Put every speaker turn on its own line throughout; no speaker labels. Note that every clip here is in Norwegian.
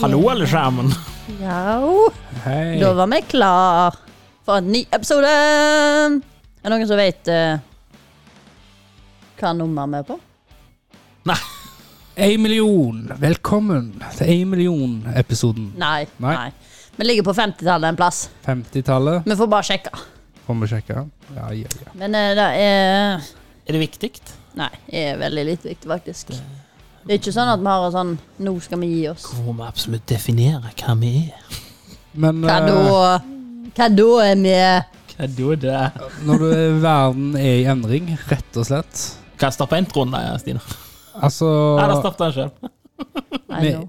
Hallo, alle sammen.
Ja,
Hei.
da var vi klar for en ny episode. Er det noen som vet eh, hva nummer vi er på?
Ei million. Velkommen til Ei million-episoden.
Nei.
Nei.
Vi ligger på 50-tallet en plass.
50-tallet.
Vi får bare sjekke.
Får vi sjekke? Ja, ja, ja.
Men eh, det er
Er det viktig?
Nei, det er veldig litt viktig, faktisk. Det er ikke sånn at vi har en sånn Nå skal vi gi oss.
Hvor må vi absolutt definere hva vi er.
Men
Hva
eh,
da? Hva da er vi
Hva er det?
når du, eh, verden er i endring, rett og slett
Kan jeg starte introen, da, Stina?
Altså
Nei, da starter jeg sjøl.
Nei,
vi-
nå.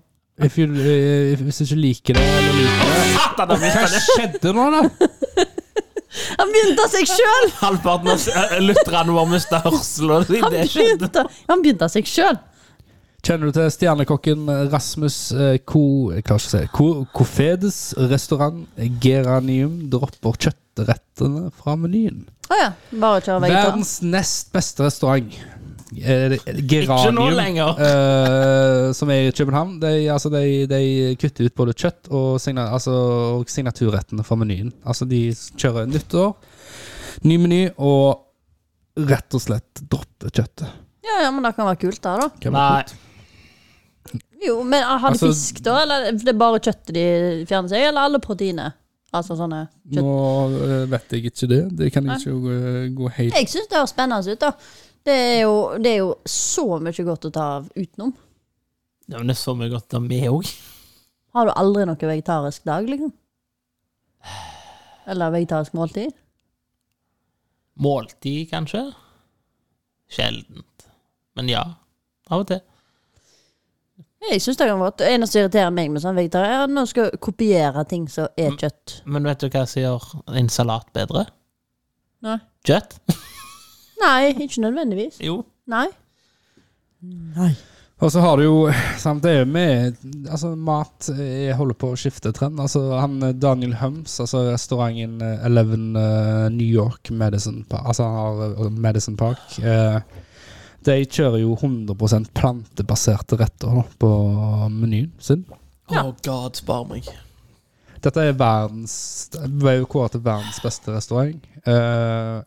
if you, eh, Hvis du ikke liker det eller liker det
Satan, jeg
Hva
mista det!
skjedde nå, da?
Han begynte av seg sjøl!
Halvparten av eh, lytterne våre mista hørselen. og
Han
Det skjedde.
begynte, han begynte av seg sjøl.
Kjenner du til stjernekokken Rasmus eh, Co... Hva skal jeg si? Co, Cofedes restaurant Geranium dropper kjøttrettene fra menyen.
Å ja. Bare kjøre vegetar.
Verdens nest beste restaurant. Eh,
Ikke
Geranium.
nå lenger.
eh, som er i København. De, altså, de, de kutter ut både kjøtt og, signa, altså, og signaturrettene fra menyen. Altså, de kjører nyttår, ny meny og rett og slett dropper kjøttet.
Ja, ja, men det kan være kult, det, da.
Hvem
Nei.
vet?
Jo, men Har de
Altså-
fisk, da? Eller det er bare kjøttet de fjerner seg? Eller alle proteiner? Altså sånne kjøtt...
Nå eh, vet jeg ikke det. Det kan jeg ikke eh, gå helt
Jeg syns det høres spennende ut, da. Det er, jo, det er jo så mye godt å ta av utenom.
Ja, men det er så mye godt av meg òg.
Har du aldri noe vegetarisk dag, liksom? Eller vegetarisk måltid?
Måltid, kanskje? Sjeldent. Men ja. Av og til.
Jeg synes det kan være godt. Det eneste som irriterer meg med sånn vegetar, er at noen skal kopiere ting som
Mm.
er kjøtt.
Men vet du hva som gjør en salat bedre?
Nei.
Kjøtt?
Nei, ikke nødvendigvis.
Jo.
Nei. Nei.
Og så har du jo samt det med Altså, mat eh, holder på å skifte trend. Altså, han eh, Daniel Hums, altså restauranten eh, Eleven eh, New York Medicine Park Altså, han har eh, Medicine Park. eh, De kjører jo 100 plantebaserte retter da, på menyen sin.
Ja.
Å, god, spar meg.
Dette er verdens Det ble jo kåret til verdens beste restaurant. Eh,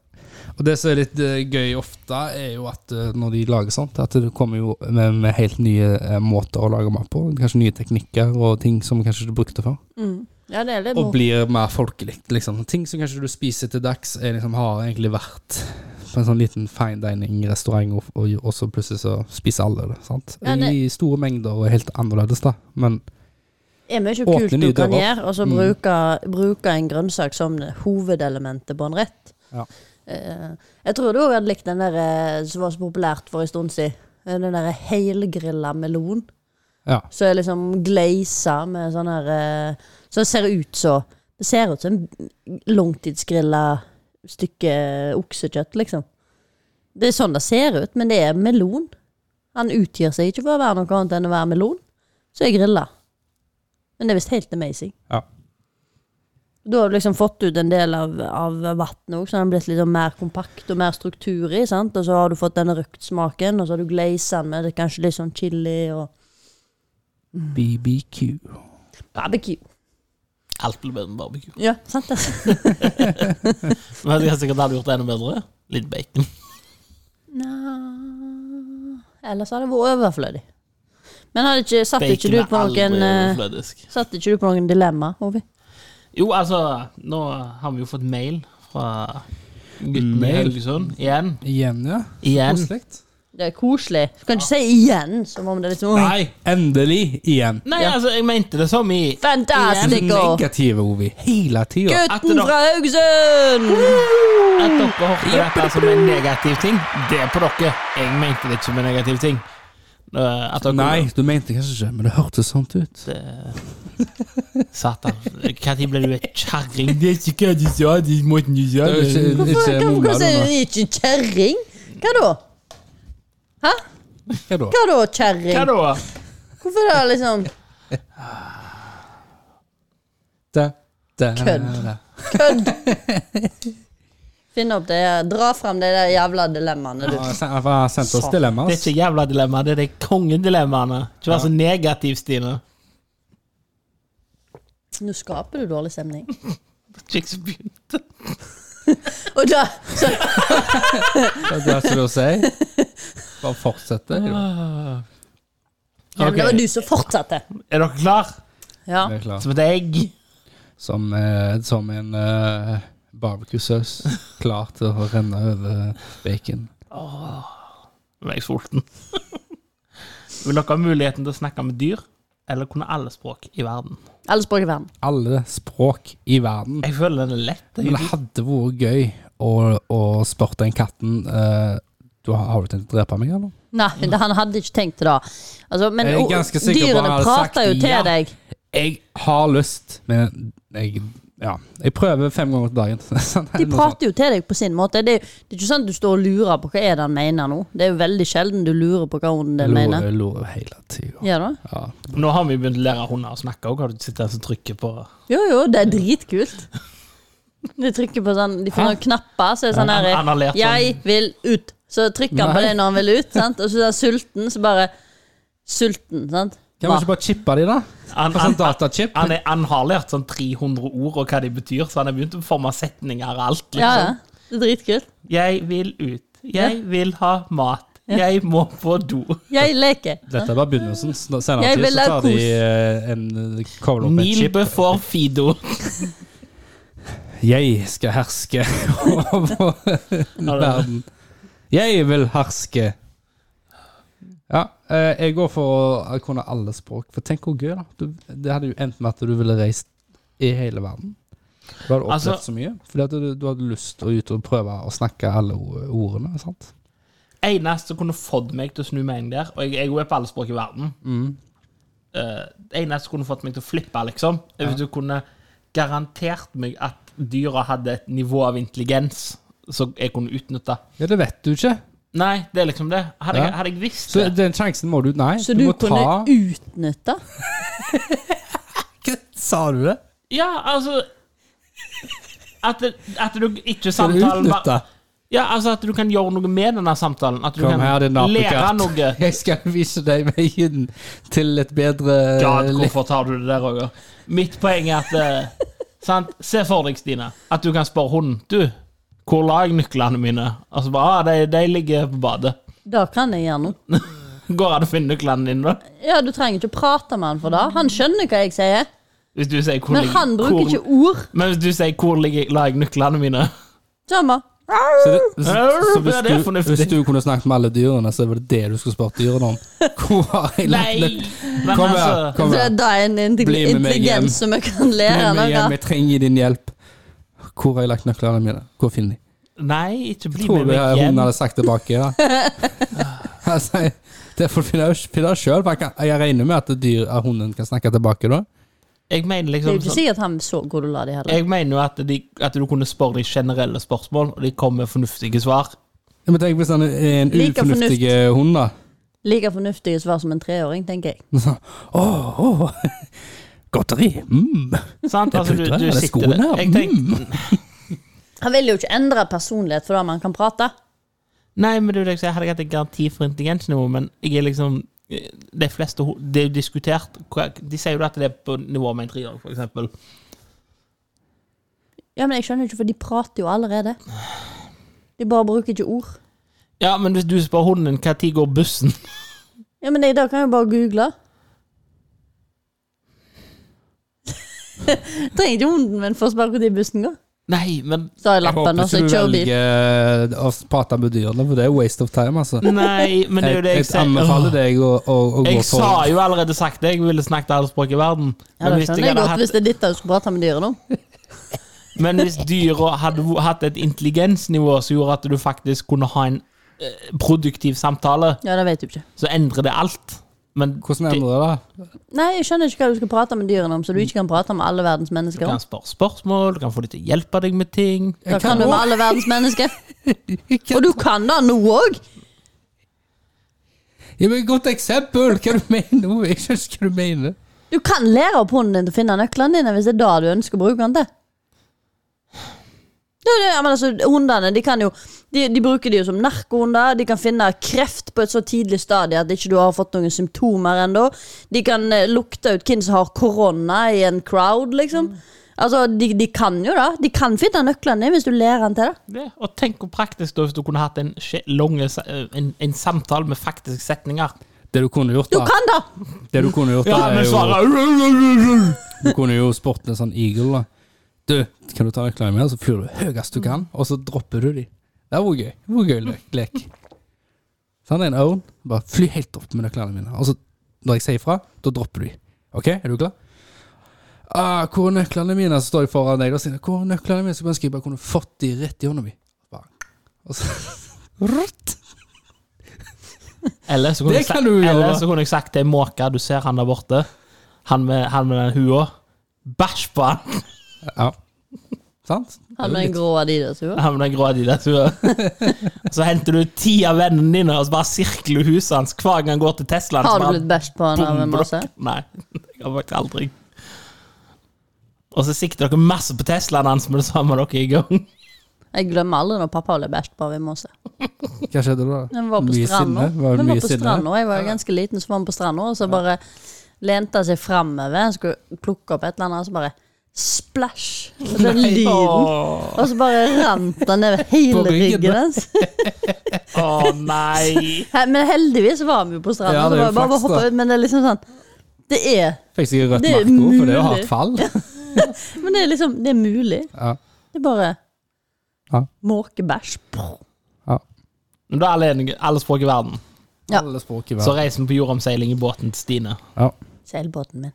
og det som er litt eh, gøy ofte, er jo at eh, når de lager sånt, at det kommer jo med, med helt nye eh, måter å lage mat på. Kanskje nye teknikker og ting som kanskje du brukte før.
Mm. Ja, det er litt
Og
moro.
blir mer folkelig, liksom. Ting som kanskje du spiser til dags, er liksom, har egentlig vært på en sånn liten fine dining-restaurant, og, og, og så plutselig så spiser alle det. sant?
Ja, det-
I store mengder og helt annerledes, da. Men
Det er mye
Åpne
kult du
nye
kan
dører.
gjøre, og så
Mm.
bruke, bruke en grønnsak som hovedelementet på en rett.
Ja.
Eh, jeg tror du òg hadde likt den der eh, som var så populært for en stund siden. Eh, Den der helgrilla melon.
ja.
Som er liksom glaza med sånn her eh, Som ser ut så Det ser ut som en langtidsgrilla stykke oksekjøtt, liksom. Det er sånn det ser ut, men det er melon. Han utgir seg ikke for å være noe annet enn å være melon, så er grilla. Men det er visst helt amazing.
Ja.
Da har du liksom fått ut en del av, av vannet òg, så den har blitt litt sånn mer kompakt og mer struktur i. sant? Og så har du fått den røkt smaken, og så har du glaza den med det, kanskje litt sånn chili og Mm.
BBQ.
Barbecue.
Alt blir bedre med barbecue.
Ja, sant det.
Vet du hva jeg sikkert hadde gjort det enda bedre? Litt bacon.
Nei. Ellers hadde det vært overflødig. Men hadde ikke, satt, ikke
Bacon
du
er
på
aldri
noen, eh,
overflødisk.
satt ikke du på noen dilemma, Ovi?
Jo, altså, nå har vi jo fått mail fra gutten i
Mail?
Haugesund. Igjen.
Igjen, ja.
Igjen.
Koselig.
Det er koselig. Du kan ikke si igjen, som om det er liksom
Nei,
Endelig igjen.
nei altså, jeg mente det som i
Fantastico!
Negative, Ovi. Hele tida.
At
Gutten
det da-
fra Haugesund!
at dere hørte dette som en negativ ting. Det er på dere. Jeg mente det ikke som en negativ ting. Eh, At dere
Nei, du mente kanskje ikke, men det hørtes sånt ut.
Det- Satan. Når ble du en kjerring? Det er ikke hva du sa, det er måten du sa
Det er jo ikke-
Hvorfor
mumma,
hvorfor sier
du
du ikke kjerring? Hva da?
Hva da?
Hva da,
Hva
kjerring?
da?
Hvorfor da, liksom?
Da, da,
Kødd.
da.
Kødd! Finn opp det Dra fram de der jævla dilemmaene, du.
Ja, sen- Jeg har sendt oss
Satan.
dilemma.
Det er
ass.
ikke jævla dilemma, det er de kongedilemmaene. Ikke vær så negativ, Stine.
Nå skaper du dårlig stemning.
Ikke så begynte.
Og da så,
Hva er det du sier? Bare fortsette. jo.
ja, men Det
Ok.
var du som fortsatte.
Er dere klar?
Ja.
Det er klart.
Som et egg.
Som, eh, som en uh, barbecue-saus klar til å renne over bacon.
Nå er jeg sulten. Vil dere ha muligheten til å snakke med dyr, eller kunne alle språk i verden?
Alle språk i verden.
Alle språk i verden.
Jeg føler den er lett.
Men det
egentlig.
hadde vært gøy å, å spørre den katten eh, du, har- Har du tenkt å drepe meg, eller?
Nei,
Mm.
det, han hadde ikke tenkt det da. Altså, men
Jeg er
o-
ganske sikker på han
dyrene
hadde sagt
prater jo til
ja.
deg.
Jeg har lyst, men jeg Ja. Jeg prøver fem ganger til dagen. Sånn,
De
noe sånt.
prater jo til deg på sin måte. Det er, jo- det er ikke sånn at du står og lurer på hva er det han mener nå. Det er jo veldig sjelden du lurer på hva hunden din mener.
Lorer, lorer hele tida.
Gjør du?
Ja.
Nå har vi begynt å lære hunder å snakke òg. Har du sittet og trykket på
Jo, jo, det er dritkult. De trykker på sånn De får
Hæ?
noen knapper, så er det sånn
Ja, han- han har
her
lært
Jeg vil ut. Så trykker han på
Nei.
det når han vil ut, sant? og så er han sulten, så bare Sulten, sant?
Kan vi ikke bare chippe de, da?
Han,
På
han,
sånn datachip?
Altså, han, er, han har lært sånn 300 ord og hva de betyr, så han har begynt å forme setninger og alt.
Ja, ja.
Liksom.
Det er dritkult.
Jeg vil ut. Jeg vil ha mat. Jeg må på do.
Jeg leker.
Dette er bare begynnelsen. Så da- Senere
Jeg
tid
vil
så
ha
tar de
kos.
eh, en kobler opp med et chip.
Nilbe for Fido.
Jeg skal herske over verden. Um, Jeg vil herske. Ja, eh, jeg går for å kunne alle språk. For tenk hvor gøy, da. Du, det hadde jo endt med at du ville reist i hele verden. Du hadde opplevd
Altså-
så mye. Fordi at du, du hadde lyst til å ut og prøve å snakke alle o- ordene. sant?
eneste som kunne fått meg til å snu mening der, og jeg, jeg er jo på alle språk i verden
Mm.
Eh, Det eneste som kunne fått meg til å flippe, liksom, er hvis du kunne garantert meg at dyra hadde et nivå av intelligens som jeg kunne utnytte.
Ja, det vet du ikke.
Nei, det er liksom det. Hadde,
Ja.
jeg, hadde jeg visst
Så
det
den sjansen må du Nei,
Så du
må
kunne
ta
utnytte?
Sa du det?
Ja, altså At, det- at du ikke
Skal du
samtalen bare-
utnytte?
Ja, altså at du kan gjøre noe med denne samtalen. At du
Kom
kan
her, din
lære
apekatt.
noe.
Jeg skal vise deg veien til et bedre
God,
liv.
hvorfor tar du det der, Roger? Mitt poeng er at eh, sant? Se for deg, Stine, at du kan spørre hunden Du, hvor la jeg nøklene mine? Og så bare ah, de, de ligger på badet.
Da kan jeg gjøre noe.
Går an å finne nøklene dine, da?
Ja, Du trenger ikke å prate med han for det. Han skjønner hva jeg sier,
Hvis du sier hvor
men
ligger-
han bruker
hvor,
ikke ord.
Men hvis du sier 'hvor ligger, la jeg nøklene mine',
Samme.
Så, det, så, så
Ja, det er
hvis, du,
fornuftig.
hvis du kunne snakket med alle dyrene, så var det det du skulle spurt dyrene om? Hvor har jeg lagt
Nei!
litt?
Men
Kom her,
altså
kom
Så
her.
det er en
Bli
intelli-
med meg hjem.
intelligens som jeg kan lære
Bli med
noe
hjem,
av.
jeg trenger din hjelp. Hvor har jeg lagt nøklene mine? Hvor finner de?
Nei, ikke bli
Tror
med
du
meg hjem.
hunden hadde sagt tilbake? da? Altså, jeg- det får du finne finne ut sjøl. Jeg, kan- jeg regner med at dyr, at hunden kan snakke tilbake da?
Jeg mener
Det er
liksom
jo ikke
sånn
sikkert han så hvor du la de heller.
jeg mener jo at, de, at du kunne spørre de generelle spørsmål, og de kom med fornuftige svar.
Ja, Men tenk hvis han er en
Like
ufornuftig eh, hund, da.
Like fornuftige svar som en treåring, tenker jeg.
Åh, åh. Godteri. Mm.
Sant?
Det
Altså, du,
putrer
du
i alle
sitter
skoene.
der. Jeg tenkte,
Han vil jo ikke endre personlighet fordi om han kan prate.
Nei, men det er jo det jeg sier. Jeg hadde ikke hatt en garanti for intelligensnivå, men jeg er liksom De fleste ho- Det er jo diskutert hva- De sier jo at det er på nivå med en treåring, for eksempel.
Ja, men jeg skjønner ikke, for de prater jo allerede. De bare bruker ikke ord.
Ja, men hvis du spør hunden din når går bussen
Ja, men jeg, da kan jeg bare google. Trenger ikke hunden min for å spørre når bussen går.
Nei, men
Så har jeg
Jeg
lappen,
håper
og så
ikke du
kjører bil.
velger å prate med dyrene, for det er waste of time, altså.
Nei, men det er jo det jeg
Jeg
sier.
anbefaler
Åh,
deg å, å, å gå
Jeg sa
for
jo allerede sagt det, jeg ville snakket alle språk i verden.
Ja,
Men
det
hvis,
skjønner
jeg hadde
jeg godt, hvis
hatt,
det er ditt jeg skulle prate med dyret om.
men hvis dyra hadde vo- hatt et intelligensnivå som gjorde at du faktisk kunne ha en eh, produktiv samtale,
Ja, det vet du ikke.
så endrer det alt. Men
Hvordan endrer det? da?
Nei, jeg skjønner ikke hva du skal prate med dyrene om, så du ikke kan prate med alle verdens
Du
mennesker om.
kan spørre spørsmål, du kan få dem til å hjelpe deg med ting.
Da kan du med alle verdens mennesker. Og du kan da nå òg!
Gi meg et godt eksempel! Hva du mener du? Jeg skjønner ikke hva du mener.
Du kan lære opp hunden din til å finne nøklene dine hvis det er det du ønsker å bruke den til. Det er jo det, ja, men altså, hundene de kan jo de, de bruker de jo som narkohunder. De kan finne kreft på et så tidlig stadie at ikke du har fått noen symptomer ennå. De kan eh, lukte ut hvem som har korona i en crowd, liksom. Altså, de, de kan jo det. De kan finne nøklene dine hvis du lærer den til det.
Det. Og tenk hvor praktisk da hvis du kunne hatt en, skje- lang, eh, en, en samtale med faktiske setninger.
Det du kunne gjort,
Du
da,
kan det!
det du kunne gjort,
Ja,
da
men
er jo
svarer
Du kunne jo spurt en sånn eagle, da. Du, kan du ta nøklene mine, så flyr du høyest du kan, og så dropper du de. Det var gøy. Det var gøy lek. lek. Sånn en own. Bare fly helt opp med nøklene mine. Og så, når jeg sier fra, da dropper du de. OK, er du klar? Ah, hvor er nøklene mine? Så står jeg foran deg og sier jeg, hvor er nøklene mine? Så ønsker jeg bare kunne fått de rett i hånda mi. Bare. Og så Rutt.
Eller så kunne,
Det
jeg, sa-
kan du gjøre.
eller så kunne jeg sagt til en måke Du ser han der borte. Han med, han med den hua. Bæsj på han!
Ja. Sant?
Han med den grå Adidas-hua.
Han med den grå Adidas hua. Så henter du ti av vennene dine og så bare sirkler du huset hans hver gang han går til Teslaen. så
Har du
bare
blitt bæsj på han av en masse?
bomblokk. Nei, jeg har faktisk aldri. Og så sikter dere masse på Teslaen hans med det samme dere er i gang.
Jeg glemmer aldri når pappa ble bæsj på av en masse.
Hva skjedde da?
Vi var på
Mye
stranda.
sinne?
Vi
Var det
var
mye
på
sinne?
stranda, jeg var ganske liten, så var vi på stranda, og så bare lente han seg framover, skulle plukke opp et eller annet, og så bare splæsj! Og Den lyden.
Åh,
Og så bare rant han nedover hele
På ryggen.
ryggen hans.
åh, nei!
He- Men heldigvis var vi jo på stranda,
Ja,
så
det er jo
bare, bare
flaks, da.
hoppe ut. Men det er liksom sånn Det er
Fikk sikkert rødt
Det er
markord, for det er jo
mulig.
hardt fall.
Men det er liksom Det er mulig.
Ja.
Det er bare
Ja.
måkebæsj.
Men da er alle enige. Alle språk i verden.
Ja.
Alle språk i
Så
verden.
reiser vi på jordomseiling i båten til Stine.
Ja.
Seilbåten min.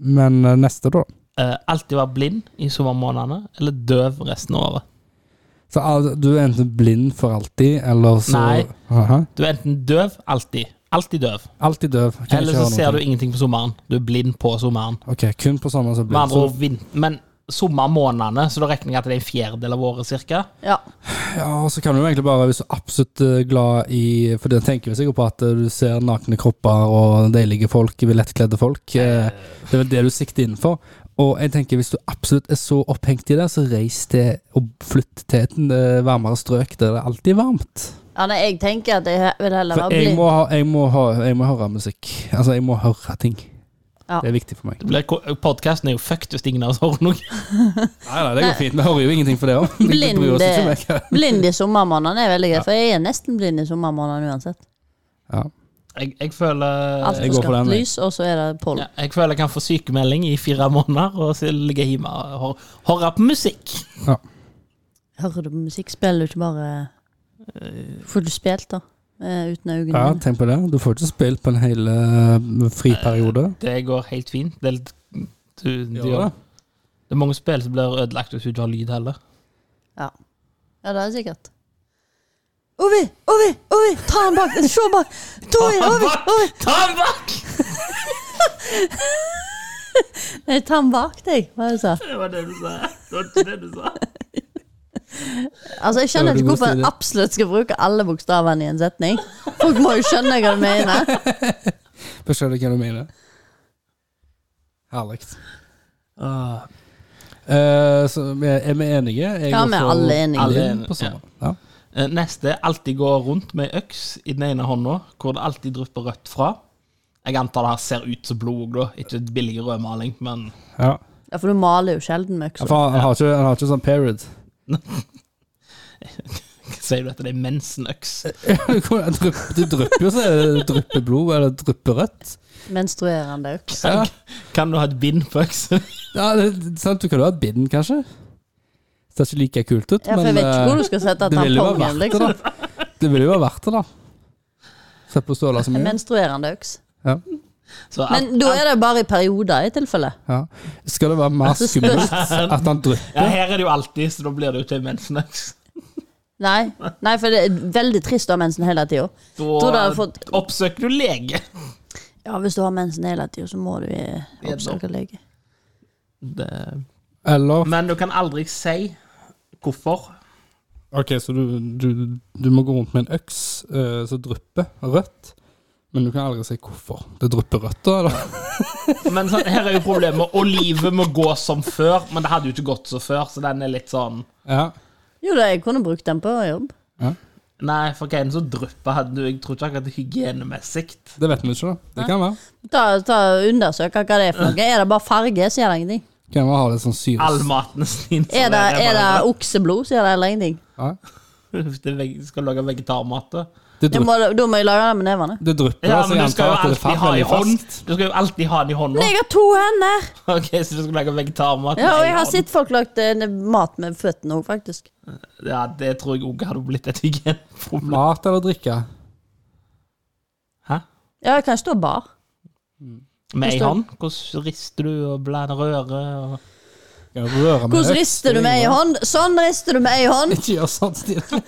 Men eh, neste, da.
Eh, alltid være blind i sommermånedene, eller døv resten av året.
Så al- du er enten blind for alltid, eller så
Nei.
Aha.
Du er enten døv alltid. Alltid døv.
Alltid døv. Kan
Eller så
ikke høre
ser
noe
du ingenting på sommeren. Du er blind på sommeren.
til. Ok, kun på sommeren så er
Med
du blind.
andre ord,
Så,
vin men sommermånedene, så da regner jeg at det er en fjerdedel av året cirka.
Ja.
ja, så kan du jo egentlig bare, hvis du er absolutt eh, glad i For det tenker vi sikkert på, at eh, du ser nakne kropper og deilige folk, lettkledde folk. eh, Det er vel det du sikter inn for. Og jeg tenker, hvis du absolutt er så opphengt i det, så reis til og flytt til et eh, varmere strøk der det er alltid varmt.
ja nei, jeg tenker at jeg he- vil heller være
For jeg
blind.
må, ha, jeg, må ha, jeg må høre musikk. Altså, jeg må høre ting.
Ja.
Det er viktig for meg.
Podkasten er jo fucked hvis ingen av oss hører noe.
Nei, nei, det går fint. Vi hører jo ingenting for det òg.
Blind, blind i sommermånedene er veldig greit, for jeg er nesten blind i sommermånedene uansett.
Ja.
Jeg, jeg føler
Alt
Jeg
for
går for
skarpt
den, jeg.
lys, og så er det pollen.
ja, jeg føler jeg kan få sykemelding i fire måneder og så ligge hjemme og hør- høre på musikk.
Hører du på musikk, spiller du ikke bare Får du spilt, da? eh, Uten øynene
ja,
dine.
tenk på det. Du får ikke spilt på en hel eh, friperiode.
Det går helt fint. Det, er litt- du, du,
Gjør det.
det er mange spill som blir ødelagt hvis du ikke har lyd heller.
Ja, det er sikkert. Ovi! Ovi! Ovi! Ta han bak! Se bak! Ta han, Ovi! Ovi!
Ta den bak!
Nei, ta han bak deg, hva jeg sa.
Det var det du sa. Det var ikke det du sa.
Altså, Jeg skjønner
Det
ikke
var det
hvorfor
du
en
sier.
absolutt skal bruke alle bokstavene i en setning. Folk må jo skjønne hva du mener.
Jeg skjønner hva du mener. Herlig. Ah. Eh, så vi er vi enige? Jeg
Ja,
går
vi er
for
alle enige.
Alle er
blind
enige,
på sommeren. Ja.
Eh, Neste er alltid gå rundt med ei øks i den ene hånda, hvor det alltid drypper rødt fra. Jeg antar det her ser ut som blod, da. Ikke billig rødmaling, men
Ja.
Ja, For du maler jo sjelden med
For
øksa.
han, har ikke, han har ikke sånn period.
hva sier du at det er mensenøks?
Du drypper jo så det drypper blod, eller drypper rødt.
Menstruerende øks.
Ja.
Kan du ha et bind på øksen?
Ja, det er sant, du kan jo ha et bind, kanskje. Det ser ikke like kult ut,
Ja, for jeg
men
vet ikke hvor
eh,
du skal sette
det ville jo være
tampongen,
verdt det,
liksom.
da. Det ville jo være verdt det, da. Se på Ståla så
En
mye.
menstruerende øks.
Så alt-
Men da er det bare i perioder, i tilfelle.
Ja. Skal det være mer
Altså, Så
skummelt
spørs-
at han
Ja,
drypper?
her er det jo alltid, så da blir det jo til mensenøks.
Nei, Nei for det er veldig trist å ha mensen hele tida. Tror du
Da
har fått-
oppsøker du lege.
Ja, hvis du har mensen hele tida, så må du eh,
Gjerne.
oppsøke lege.
Det-
Eller
Men du kan aldri si hvorfor.
OK, så du, du, du må gå rundt med en øks eh, som drypper rødt, Men du kan aldri si hvorfor. Det drypper røtter, eller?
Men sånn, her er jo problemet. Og livet må gå som før, men det hadde jo ikke gått som før, så den er litt sånn
Ja.
Jo da, jeg kunne brukt den på jobb.
Nei, for hva er det som drypper? Hadde du- Jeg tror ikke akkurat det er hygienemessig.
Det vet vi ikke, da. Det kan være.
Ta, ta Undersøk hva det er for noe. Er det bare farge, så gjør det ingenting.
Kan være ha litt sånn syre...
All maten sin. som
Er det, er det
bare
okseblod, så gjør det heller ingenting.
Ja.
drypp. Det er veg- Skal lage vegetarmat. da.
Det
Jeg
drypper,
må, da må jeg lage den med nevene.
det drypper
Ja,
så
men
jeg
du skal jo
antar at det
alltid
faller
ha i
veldig
hånd.
fast.
Du skal jo alltid ha den i hånda.
Men jeg har to hender!
Ok, Så du skal lage vegetarmat?
Ja,
med
og
en
jeg har
hånd.
sett folk lagd eh, mat med føttene òg, faktisk.
Ja, Det tror jeg òg hadde blitt et hygieneproblem.
Mat eller drikke?
Hæ?
Ja, jeg kan stå bar.
Med ei
Forstår.
hånd? Hvordan rister du og blander røre? Og...
Kan du røre med
Hvordan
øks?
rister du med ei hånd? Sånn rister du med ei hånd.
Ikke gjør sånn, Stine.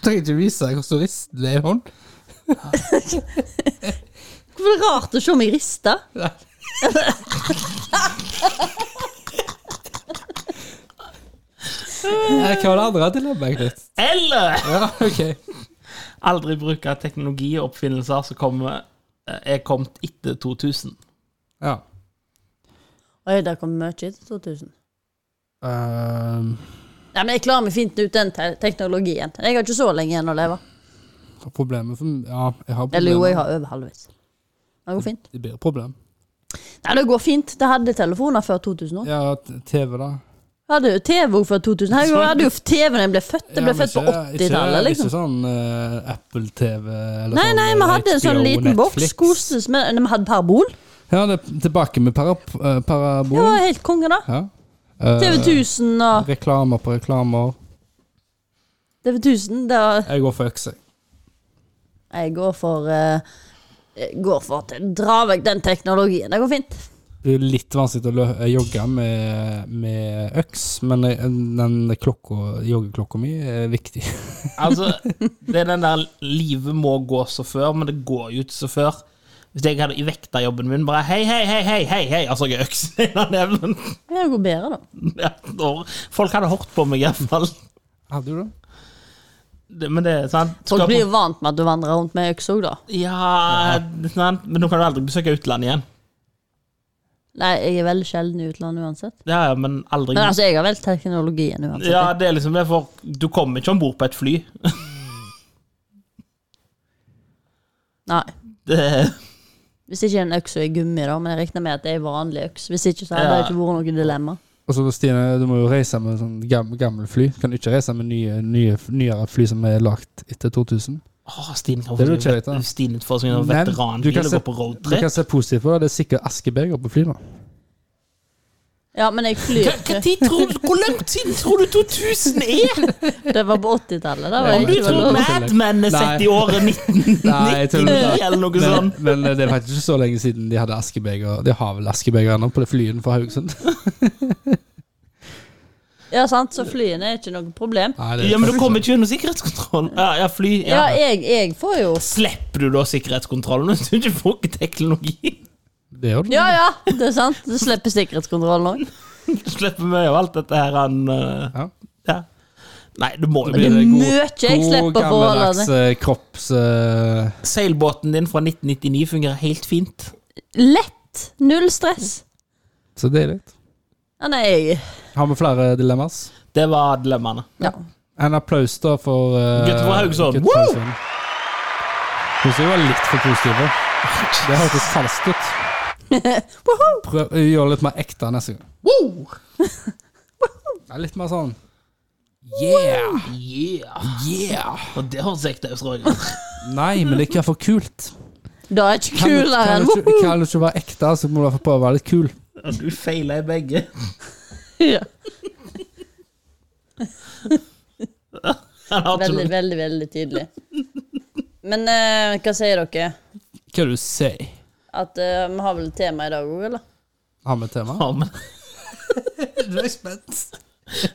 Trenger ikke vise deg hvordan du rister med ei hånd.
Hvorfor er det rart å se meg riste?
Eh, Hva var det andre dilemmaet ditt?
Eller
Ja, ok.
aldri bruke teknologi og oppfinnelser som kommer, eh, er kommet etter 2000.
Ja.
Oi, det kom mye etter 2000.
Ehm,
Nei, men jeg klarer meg fint ut den te teknologien. Jeg har ikke så lenge igjen å leve.
problemet for Ja, jeg har problemer.
Eller jo, jeg har over halvveis. Det går fint.
Det blir et problem.
Nei, det går fint. Det hadde telefoner før 2000 år.
Ja, t- TV, da.
Jeg hadde jo TV også før 2000. Her jeg hadde jo TV da jeg ble født. Jeg ble
Ja, men
født på
ikke- ikke-
80-tallet, liksom.
Ikke sånn eh, Apple-TV eller
Nei,
sånn
nei, vi
eh,
hadde en sånn
HBO,
liten boks.
Netflix.
Kostes med Nei, Vi hadde parabol.
Ja, det er tilbake med para, eh,
Det
parabol.
var helt konge, da.
Ja. Eh,
TV 1000 og
Reklamer på reklamer.
TV 1000, det var
Jeg går for økse.
Jeg går for eh, jeg går for at dra vekk den teknologien. Det går fint.
Det er litt vanskelig å lø eh, jogge med, med øks, men eh, den klokka, joggeklokka mi er viktig.
Altså, det er den der livet må gå som før, men det går jo ikke som før. Hvis jeg hadde i vekterjobben min bare hei, hei, hei, hei, hei, hei, altså jeg er øks i den neven.
Ja, det går bedre, da.
Ja, og Folk hadde hørt på meg i hvert fall.
Hadde du det?
Det- Men det er sant.
Folk
Skal
blir jo vant med at du vandrer rundt med øks òg, da.
Ja, sant. Men nå kan du aldri besøke utlandet igjen.
Nei, jeg er veldig sjelden i utlandet uansett.
Ja, ja, men aldri
Men altså, jeg har vel teknologien uansett.
Ja, det er liksom det, for du kommer ikke om bord på et fly.
Nei.
Det,
Hvis ikke en øks er gummi, da, men jeg regner med at det er vanlig øks. Hvis ikke så hadde
Ja.
det ikke vært noe dilemma.
Og så Stine, du må jo reise med sånn gam, gammel fly. Kan du ikke reise med nye, nye, nyere fly som er lagt etter 2000?
Åh, Stine kan
Det er jo kjekt, da.
få Stine får seg en
Men du
veteranbil
kan
og
se-
går på
Du
roadtrip.
kan se positivt på det. Det er sikkert Askeberger på fly nå.
Ja, men jeg flyr ikke.
Hvor langt siden tror du 2000 er?
Det var på 80-tallet. Da var
Ja,
jeg
Du
ikke
tror Mad
veldig
Men er sett
Nei.
i året 1999 eller noe
Men,
sånt?
men eh, det er faktisk ikke så lenge siden de hadde Askeberger. De har vel Askeberger ennå på det flyet fra Haugesund?
Ja, sant, så flyene er ikke noe problem.
Nei, det er
Ja, men du
faktisk
kommer
ikke.
ikke gjennom sikkerhetskontrollen. Ja, ja, fly.
Ja,
Ja.
jeg, jeg får jo
Slipper du da sikkerhetskontrollen hvis du ikke får teknologi?
Det gjør du.
Ja, ja, det er sant. Du slipper sikkerhetskontrollen òg.
Du slipper mye av alt dette her han eh,
Ja.
ja. Nei, du må jo
Det
bli
blir-
det.
er mye jeg slipper
god,
å forholde
gammeldags, eh, kropps... eh,
Seilbåten din fra 1999 fungerer helt fint.
Lett. Null stress.
så deilig.
Ja, nei,
Har vi flere dilemmas?
Det var dilemmaene.
ja.
En applaus da for uh,
Gutter fra Haugesund.
Gutter fra Haugesund. Synes jeg var litt for positive. Det hørtes falskt ut. Prøv å gjøre det litt mer ekte neste gang.
Wow!
Ja, Litt mer sånn Yeah!
Yeah!
Yeah!
Og det høres ekte ut, Roger.
Nei, men det er ikke for kult.
Da er ikke
Kan du,
kulere
kan,
enn
du ikke, kan du ikke være ekte, så må du i hvert fall prøve å være litt kul.
Ja, Du feiler i begge.
Ja.
Han har
Veldig,
ikke-
veldig, veldig tydelig. Men eh, hva sier dere?
Hva du sier?
At eh, vi har vel tema i dag òg, eller?
Har vi et tema?
Ja, men
Du er spent.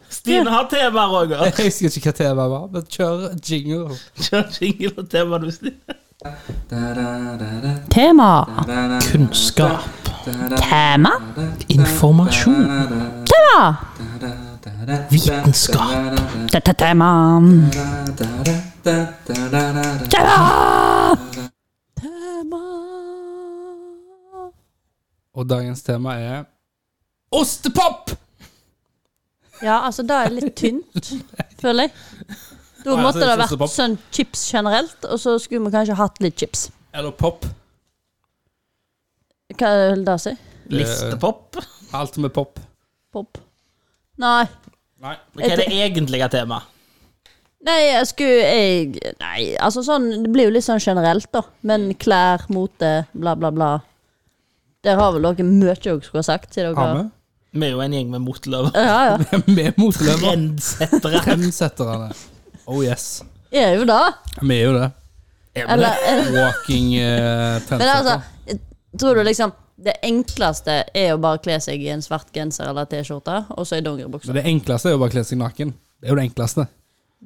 Stine har tema, Roger.
Jeg husker ikke hva temaet var, men kjør jingle.
Kjør jingle og tema, du, Stine.
Tema.
Kunnskap.
Tema.
Informasjon. Vitenskap.
Dette tema.
Og dagens tema er ostepop!
Ja, altså, det er litt tynt, føler jeg. Da
Nei,
måtte
altså,
det
ostepop.
vært sånn chips generelt, og så skulle vi kanskje hatt litt chips.
Eller pop.
Hva vil det si?
Eh, Listepop?
Eh, Alt med pop.
Pop? Nei.
Nei.
Hva er det egentlige temaet?
Nei, jeg skulle jeg, Nei, altså sånn Det blir jo litt sånn generelt, da. Men klær, mote, bla, bla, bla. Der har vel dere mye dere skulle ha sagt. Til dere.
Har vi?
Vi er jo en gjeng med motløver.
Ja, ja.
Vi er motløver.
Trendsettere.
Trendsetterne. Oh yes.
Er jo det.
Vi er jo det.
Eller eller-
Walking uh,
Men altså,
trendsetter.
tror du liksom det enkleste er å bare kle seg i en svart genser eller T-skjorte, og så i
Så
dongeribukse.
det enkleste er jo bare å kle seg naken. Det er jo det enkleste.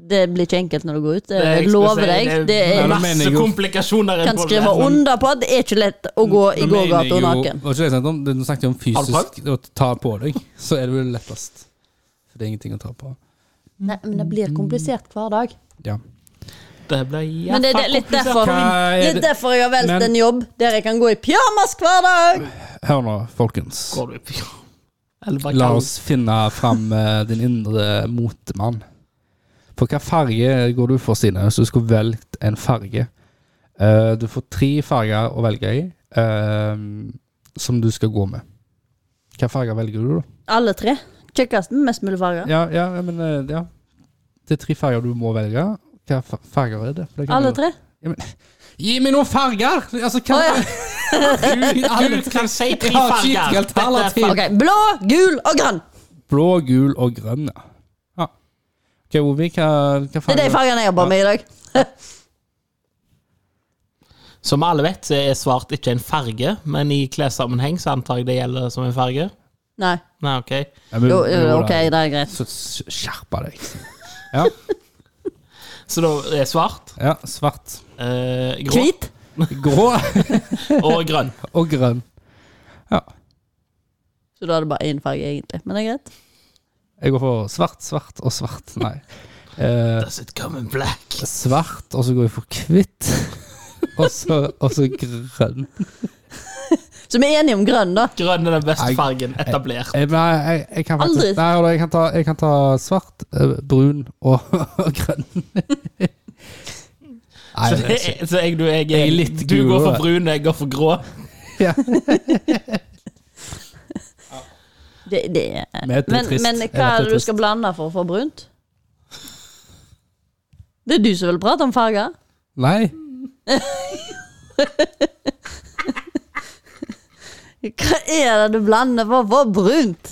Det blir ikke enkelt når du går ut.
Det
Det
jeg skulle
eh, lover
si,
deg. Det
Nei,
er,
da mener
Masse
jeg jo-
komplikasjoner
kan
involvert.
skrive under på at det er ikke lett å gå i
Da mener jeg
gågata
jo-
naken.
Var ikke det jeg snakket om? Det- Nå snakket jeg om
Har du
fysisk å ta på deg. Så er det vel lettest. For det er ingenting å ta på.
Nei, men det blir komplisert hver dag.
Ja.
Det ble jævla
Men det er det- litt
komplisert.
derfor-
Hva
Det
er
er
det?
derfor jeg har valgt
Men-
en jobb der jeg kan gå i pyjamas hver dag.
Hør nå, folkens.
Går du i pyjama? Eller bare
La
kall-
oss finne fram eh, din indre motemann. For hva farge går du for, Stine, hvis du skulle velgt en farge? Eh, du får tre farger å velge i eh, som du skal gå med. Hva farger velger du, da?
Alle tre. Kjekkest med mest mulig farger.
Ja, ja, ja, men eh, ja. Det er tre farger du må velge. Hva fa- farger er det? For det kan
Alle
jo-
tre.
Gi meg noen farger! Altså, hva
Å, ja.
du,
Du kan si tre
Jeg har ikke
farger.
et alternativ.
Dette er
Ok, Blå, gul og grønn.
Blå, gul og grønn, ja. ja. Ok, Ovi, hva, hva
Det er de
farger
fargene jeg jobber med i dag.
fa- Som alle vet, så er svart ikke en farge, men i klessammenheng så antar jeg det gjelder som en farge.
Nei.
Nei, ok.
Ja, men-
Jo, jo,
da.
ok, det er greit.
Så s- skjerpa deg.
Så da er svart,
Ja, svart,
eh, grå
Hvit.
grå
og grønn.
og grønn.
Så da er det bare én farge, egentlig. Men det er greit.
Jeg går for svart, svart og svart. Nei. Eh,
Does it come in black?
svart, og så går jeg for hvitt. Og så, og så grønn.
Så vi er enige om grønn, da.
Grønn er den beste
Jeg-
fargen etablert.
Jeg, nei, jeg, jeg kan
Aldri.
faktisk Nei, hold da, jeg, kan ta, jeg kan ta svart, eh, brun og, og grønn. Nei,
Så,
det er
jeg- så jeg, du, jeg,
Jeg er litt
du
gul,
går for
da.
brun, jeg går for grå.
Ja.
Det, det er
Men det er
men,
trist.
men
Jeg vet det
hva
er
er det du
trist.
skal blande for å få brunt? Det er du som vil prate om farger.
Nei.
Hva er det du blander for å få brunt?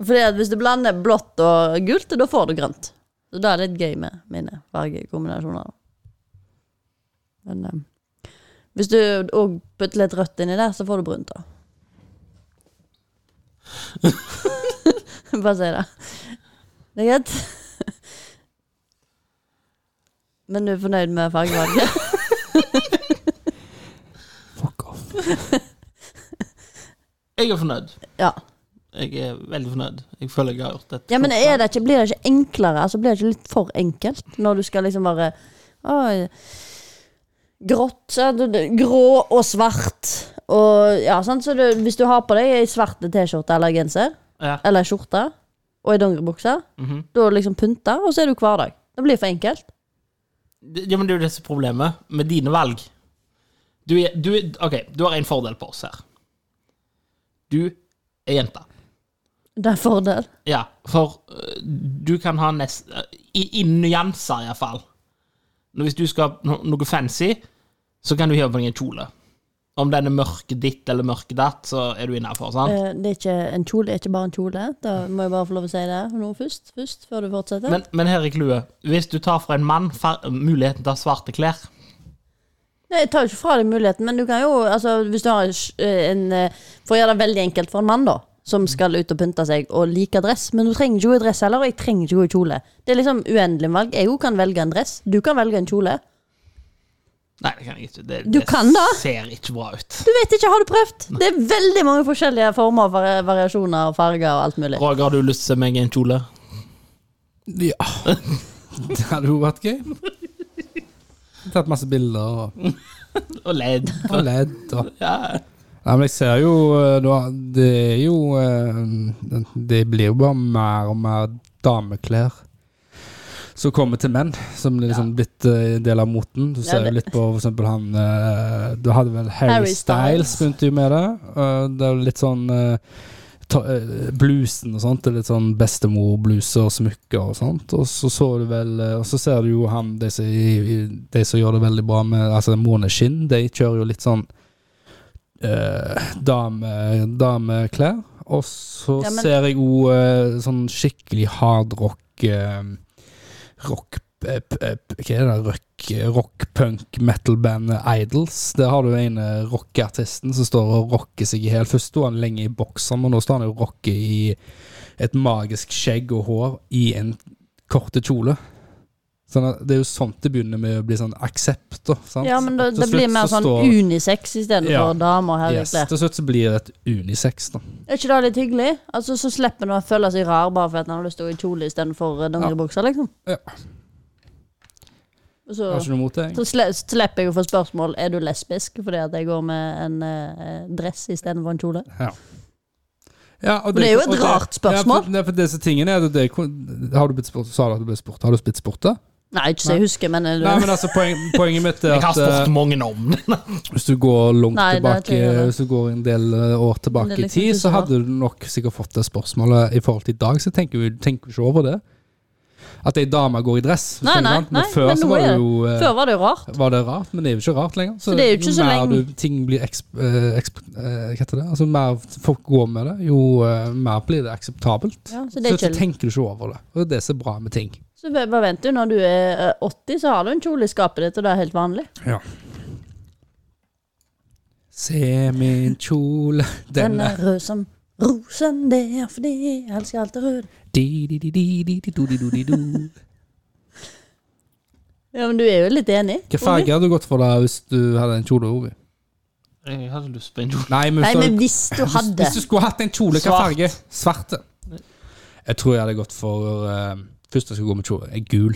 Fordi at hvis du blander blått og gult, da får du grønt. Så da er det litt gøy med mine fargekombinasjoner. da. Men eh, hvis du òg putter litt rødt inni der, så får du brunt, da. Bare si det. Det er greit? Men du er fornøyd med fargevalget?
Fuck off.
Jeg er fornøyd.
ja.
Jeg er veldig fornøyd. Jeg føler jeg har gjort et
ja, men
klokt valg.
er det ikke, blir det ikke enklere? Altså, blir det ikke litt for enkelt når du skal liksom bare Oi. Grått, så er det- det- grå og svart. Og ja, sant? Så du, hvis du har på deg ei svart T-skjorte eller genser,
Ja.
eller ei skjorte, og ei dongeribukse,
Mhm.
da er du liksom pynta, og så er du hver dag. Det blir for enkelt.
Det- Ja, men det er jo det som er problemet med dine valg. Du er, du er OK, du har en fordel på oss her. Du er jenta.
Det er en fordel.
Ja, for øh, du kan ha nest... øh, I, i nyanser, iallfall. Hvis du skal ha no- noe fancy, så kan du hive på deg en kjole. Om den er mørke ditt eller mørke datt, så er du innafor. sant?
Eh, Det er ikke, en kjole er ikke bare en kjole. Da må jeg bare få lov å si det nå først, først før du fortsetter.
Men, men her er clouet. Hvis du tar fra en mann far muligheten til å ha svarte klær
Nei, Jeg tar jo ikke fra deg muligheten, men du kan jo altså, Hvis du har en, sj- en eh, For å gjøre det veldig enkelt for en mann, da, som
Mm.
skal ut og pynte seg og liker dress, men du trenger ikke gå i dress heller, og jeg trenger ikke gå i kjole. Det er liksom uendelig valg. Jeg òg kan velge en dress. Du kan velge en kjole.
Nei, det kan jeg ikke. Det,
Du
det
kan da.
ser ikke bra ut.
Du vet ikke, har du prøvd? Det er veldig mange forskjellige former og vari- variasjoner og farger og alt mulig.
Roger, har du lyst til meg i en kjole?
Ja. Det hadde jo vært gøy. Tatt masse bilder og,
Og ledd.
og ledd og
Ja.
Nei, men jeg ser jo eh, nå, Det er jo eh, Det blir jo bare mer og mer dameklær som kommer til menn, som er liksom blitt eh, en del av moten. Du ser
det-
jo litt på for eksempel han eh, Du hadde vel Harry,
Harry
Styles
Styles.
begynte jo med det. og det er jo litt sånn eh, ta- eh, Blusen og sånt, det er litt sånn bestemorbluser og smykker og sånt. Og så så du vel eh, Og så ser du jo han, de som, i- i- de som gjør det veldig bra med altså måneskinn, de kjører jo litt sånn eh, dame, dameklær. Og så
Ja, men-
ser jeg jo eh, sånn skikkelig hardrock eh, Rock eh, p- eh, p- Hva er det? Rock, eh, rock punk metal-bandet Idols. Der har du den ene rockeartisten som står og rocker seg i hjel. Først sto han lenge i bokser, men nå står han jo og rocker i et magisk skjegg og hår i en korte kjole. Sånn at det er jo sånt det begynner med å bli sånn aksept. da, sant?
Ja, men det,
Til
det
slutt
blir mer
så
sånn
står-
unisex istedenfor
Ja.
damer og
Yes,
herreklær.
til slutt så blir det et unisex, da.
Er ikke det litt hyggelig? Altså, Så slipper en å føle seg rar bare fordi en har lyst til å gå i kjole istedenfor eh, dongeribukser, liksom.
Ja. Altså-
Og så,
Har ikke noe imot det? jeg.
så sle- slipper jeg å få spørsmål Er du lesbisk fordi at jeg går med en eh, dress istedenfor en kjole.
Ja. Ja, og
Men det er jo et
og
rart spørsmål.
Ja, for, nei, for disse tingene er det, det Har du blitt spurt? Sa du at du ble spurt? Har du blitt spurt, da?
Nei, ikke så jeg husker, men, eh, er du,
Nei, men altså, poen, poenget mitt er
Jeg har
at eh,
spurt mange om det.
hvis du går langt
Nei, det
tilbake,
tror jeg det.
hvis du går en del eh, år tilbake
Det er
i
liksom
tid,
ikke
så
så
hadde du nok sikkert fått det spørsmålet i forhold til i dag, så tenker vi tenker vi ikke over det. At ei dame går i dress.
Nei,
skjønner du
nei,
sant? men
nei,
før
men nå
så var
er
det
det-
jo eh,
Før var det jo rart.
var det rart, men det er jo ikke rart lenger.
Så det er jo ikke så
mer
lenge-
du, ting blir eksp, eh, eksp, eh, Hva heter det? Altså, mer folk går med det, jo eh, mer blir det akseptabelt.
Ja, så
eh, så,
det er ikke
tenker du ikke over det. Og det er det som er bra med ting.
Så bare bare vent du, når du er eh, 80, så har du en kjole i skapet ditt, og det er helt vanlig.
Se min kjole,
Den
den er
er rød som rosen, det er fordi jeg elsker alt det røde.
di, di, di, di, di, di, do, di, do, di, do.
Ja, men du er jo litt enig.
Hvilken farge hadde du gått for da hvis du hadde en kjole? Ovi?
Jeg hadde lyst på en kjole.
Nei, men,
Nei,
hvis du-
men hvis du
hvis,
hadde
hvis du skulle hatt en kjole, hvilken
Svart.
farge? Svarte. Jeg tror jeg hadde gått for eh, Først jeg skulle gå med kjole, er gul.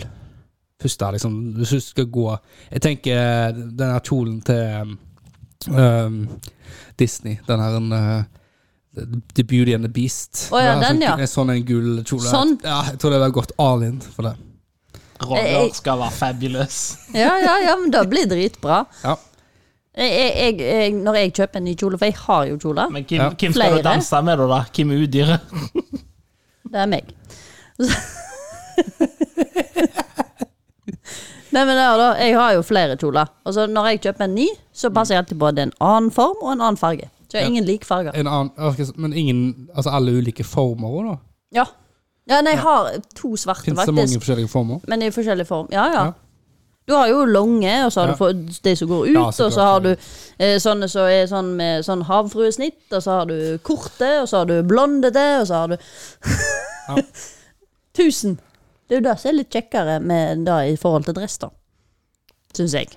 Først da, liksom, hvis du skal gå Jeg tenker eh, den her kjolen til eh, Disney. Den her eh, The Beauty and the Beast.
Å ja,
Det er
den,
sånn-
ja.
En sånn en gul kjole.
Sånn.
Ja, jeg tror det hadde gått all in for det.
Eh,
Roger skal være fabulous.
Ja, ja, ja, men det blir dritbra.
Ja.
Jeg, jeg, jeg, når jeg kjøper en ny kjole, for jeg har jo kjoler,
Men hvem,
Ja.
hvem skal
Flere.
du danse med, da? da? Hvem er udyret?
det er meg. Nei, men ja, da, Jeg har jo flere kjoler. Og så Når jeg kjøper en ny, så passer jeg alltid på at det er en annen form og en annen farge. Så jeg har ingen like farger.
En annen, ok, så- men ingen Altså alle ulike former òg, da?
Ja. ja nei, jeg har to svarte,
Fins det mange
faktisk.
forskjellige former?
Men i forskjellig form. Ja, ja.
Ja.
Du har jo lange, og så har
Ja.
du få- de som går ut,
Ja, så
og så
klart.
har du eh, sånne som er sånn med sånn havfruesnitt, og så har du korte, og så har du blondete, og så har du
Ja.
Tusen. Det er jo det som er litt kjekkere med det i forhold til dress, da. Syns jeg.